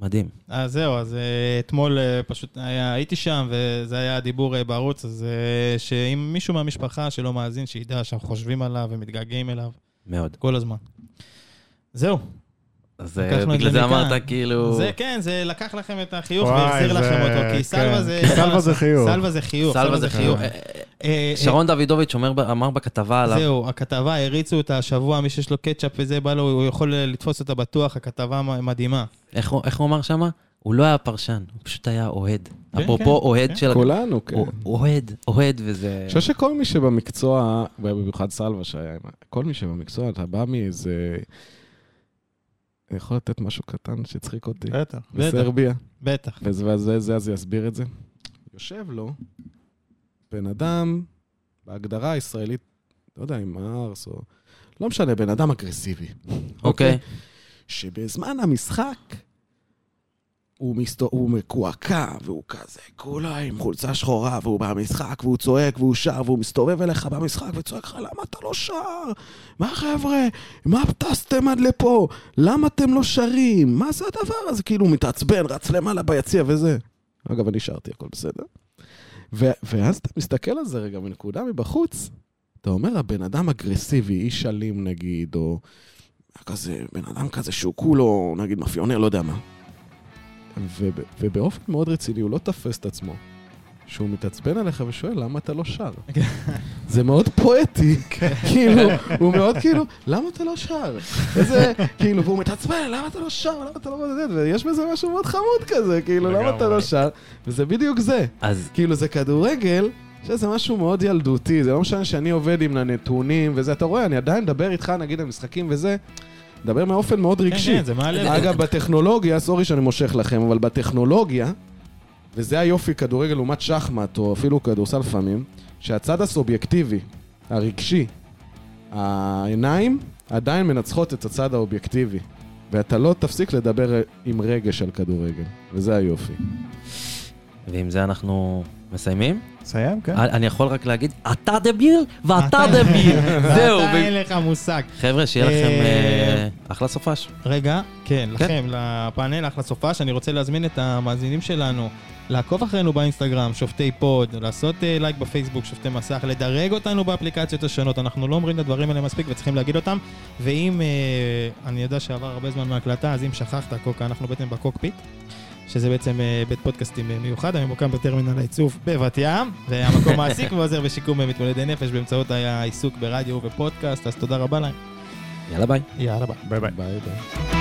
מדהים. אז זהו, אז אה, אתמול אה, פשוט היה, הייתי שם, וזה היה הדיבור אה, בערוץ, אז אה, שאם מישהו מהמשפחה שלא מאזין, שידע שאנחנו חושבים עליו ומתגעגעים אליו מאוד. כל הזמן. זהו, אז לקחנו אה, את בגלל זה זה מכאן. אמרת כאילו... זה כן, זה לקח לכם את החיוך וואי, והחזיר זה- לכם אותו, כי סלווה כן. זה... כי סלווה זה חיוך. סלווה זה חיוך. סלווה זה חיוך. אה, אה, אה, שרון דוידוביץ' אומר ב- אמר בכתבה עליו, זהו, הכתבה, הריצו אותה השבוע, מי שיש לו קטשאפ וזה בא לו, הוא יכול אה, לתפוס אותה בטוח, הכתבה מ- מדהימה. איך הוא- איך הוא אמר שמה? הוא לא היה פרשן, הוא פשוט היה אוהד. כן, כן, אפרופו אוהד כן. של... כולנו, כן. לא הוא- אוהד, אוהד, וזה... אני חושב שכל מי שבמקצוע, ובמיוחד סלווה שהיה, עם- כל מי שבמקצוע, אתה בא מאיזה... אני יכול לתת משהו קטן שהצחיק אותי. אה, בטח. בסרביה, בטח. וזה וזה- זה, אז יסביר את זה. יושב לו בן אדם, בהגדרה הישראלית, לא יודע אם ארס או... לא משנה, בן אדם אגרסיבי. אוקיי. שבזמן המשחק הוא, מסת... הוא מקועקע, והוא כזה כולה עם חולצה שחורה, והוא במשחק, והוא צועק, והוא שר, והוא מסתובב אליך במשחק וצועק לך, למה אתה לא שר? מה חבר'ה? מה טסתם עד לפה? למה אתם לא שרים? מה זה הדבר הזה? כאילו, הוא מתעצבן, רץ למעלה ביציע וזה. אגב, אני שרתי, הכל בסדר. ו- ואז אתה מסתכל על זה רגע מנקודה מבחוץ, אתה אומר, הבן אדם אגרסיבי, איש אלים נגיד, או כזה, בן אדם כזה שהוא כולו, נגיד, מאפיונר, לא יודע מה. וב, ובאופן מאוד רציני, הוא לא תופס את עצמו. שהוא מתעצבן עליך ושואל, למה אתה לא שר? זה מאוד פואטי, כאילו, הוא מאוד כאילו, למה אתה לא שר? איזה, כאילו, והוא מתעצבן, למה אתה לא שר? למה אתה לא מודד? ויש בזה משהו מאוד חמוד כזה, כאילו, למה אתה לא לגמרי. שר? וזה בדיוק זה. אז כאילו זה כדורגל, שזה משהו מאוד ילדותי, זה לא משנה שאני עובד עם הנתונים וזה, אתה רואה, אני עדיין מדבר איתך נגיד על משחקים וזה, מדבר מאופן מאוד כן, רגשי. כן, זה מעלה. אגב, בטכנולוגיה, סורי שאני מושך לכם, אבל בטכנולוגיה, וזה היופי כדורגל לעומת שחמט, או אפילו כדורסל לפעמים, שהצד הסובייקטיבי, הרגשי, העיניים עדיין מנצחות את הצד האובייקטיבי. ואתה לא תפסיק לדבר עם רגש על כדורגל, וזה היופי. ועם זה אנחנו מסיימים. סיים, כן. אני יכול רק להגיד, אתה דביל ואתה אתה- דביל. זהו. אתה ו- אין לך מושג. חבר'ה, שיהיה לכם אה, אה, אחלה סופש. רגע, כן, לכם, לפאנל, אחלה סופה, שאני רוצה להזמין את המאזינים שלנו לעקוב אחרינו באינסטגרם, שופטי פוד, לעשות אה, לייק בפייסבוק, שופטי מסך, לדרג אותנו באפליקציות השונות. אנחנו לא אומרים את הדברים האלה מספיק וצריכים להגיד אותם. ואם, אה, אני יודע שעבר הרבה זמן מהקלטה, אז אם שכחת, קוקה, אנחנו בעצם בקוקפיט. שזה בעצם אה, בית פודקאסטים אה, מיוחד, הממוקם בטרמינל העיצוב בבת ים, והמקום מעסיק ועוזר בשיקום אה, מתמודדי נפש באמצעות העיסוק ברדיו ובפודקאסט, אז תודה רבה להם. יאללה ביי. יאללה ביי. ביי ביי. ביי ביי.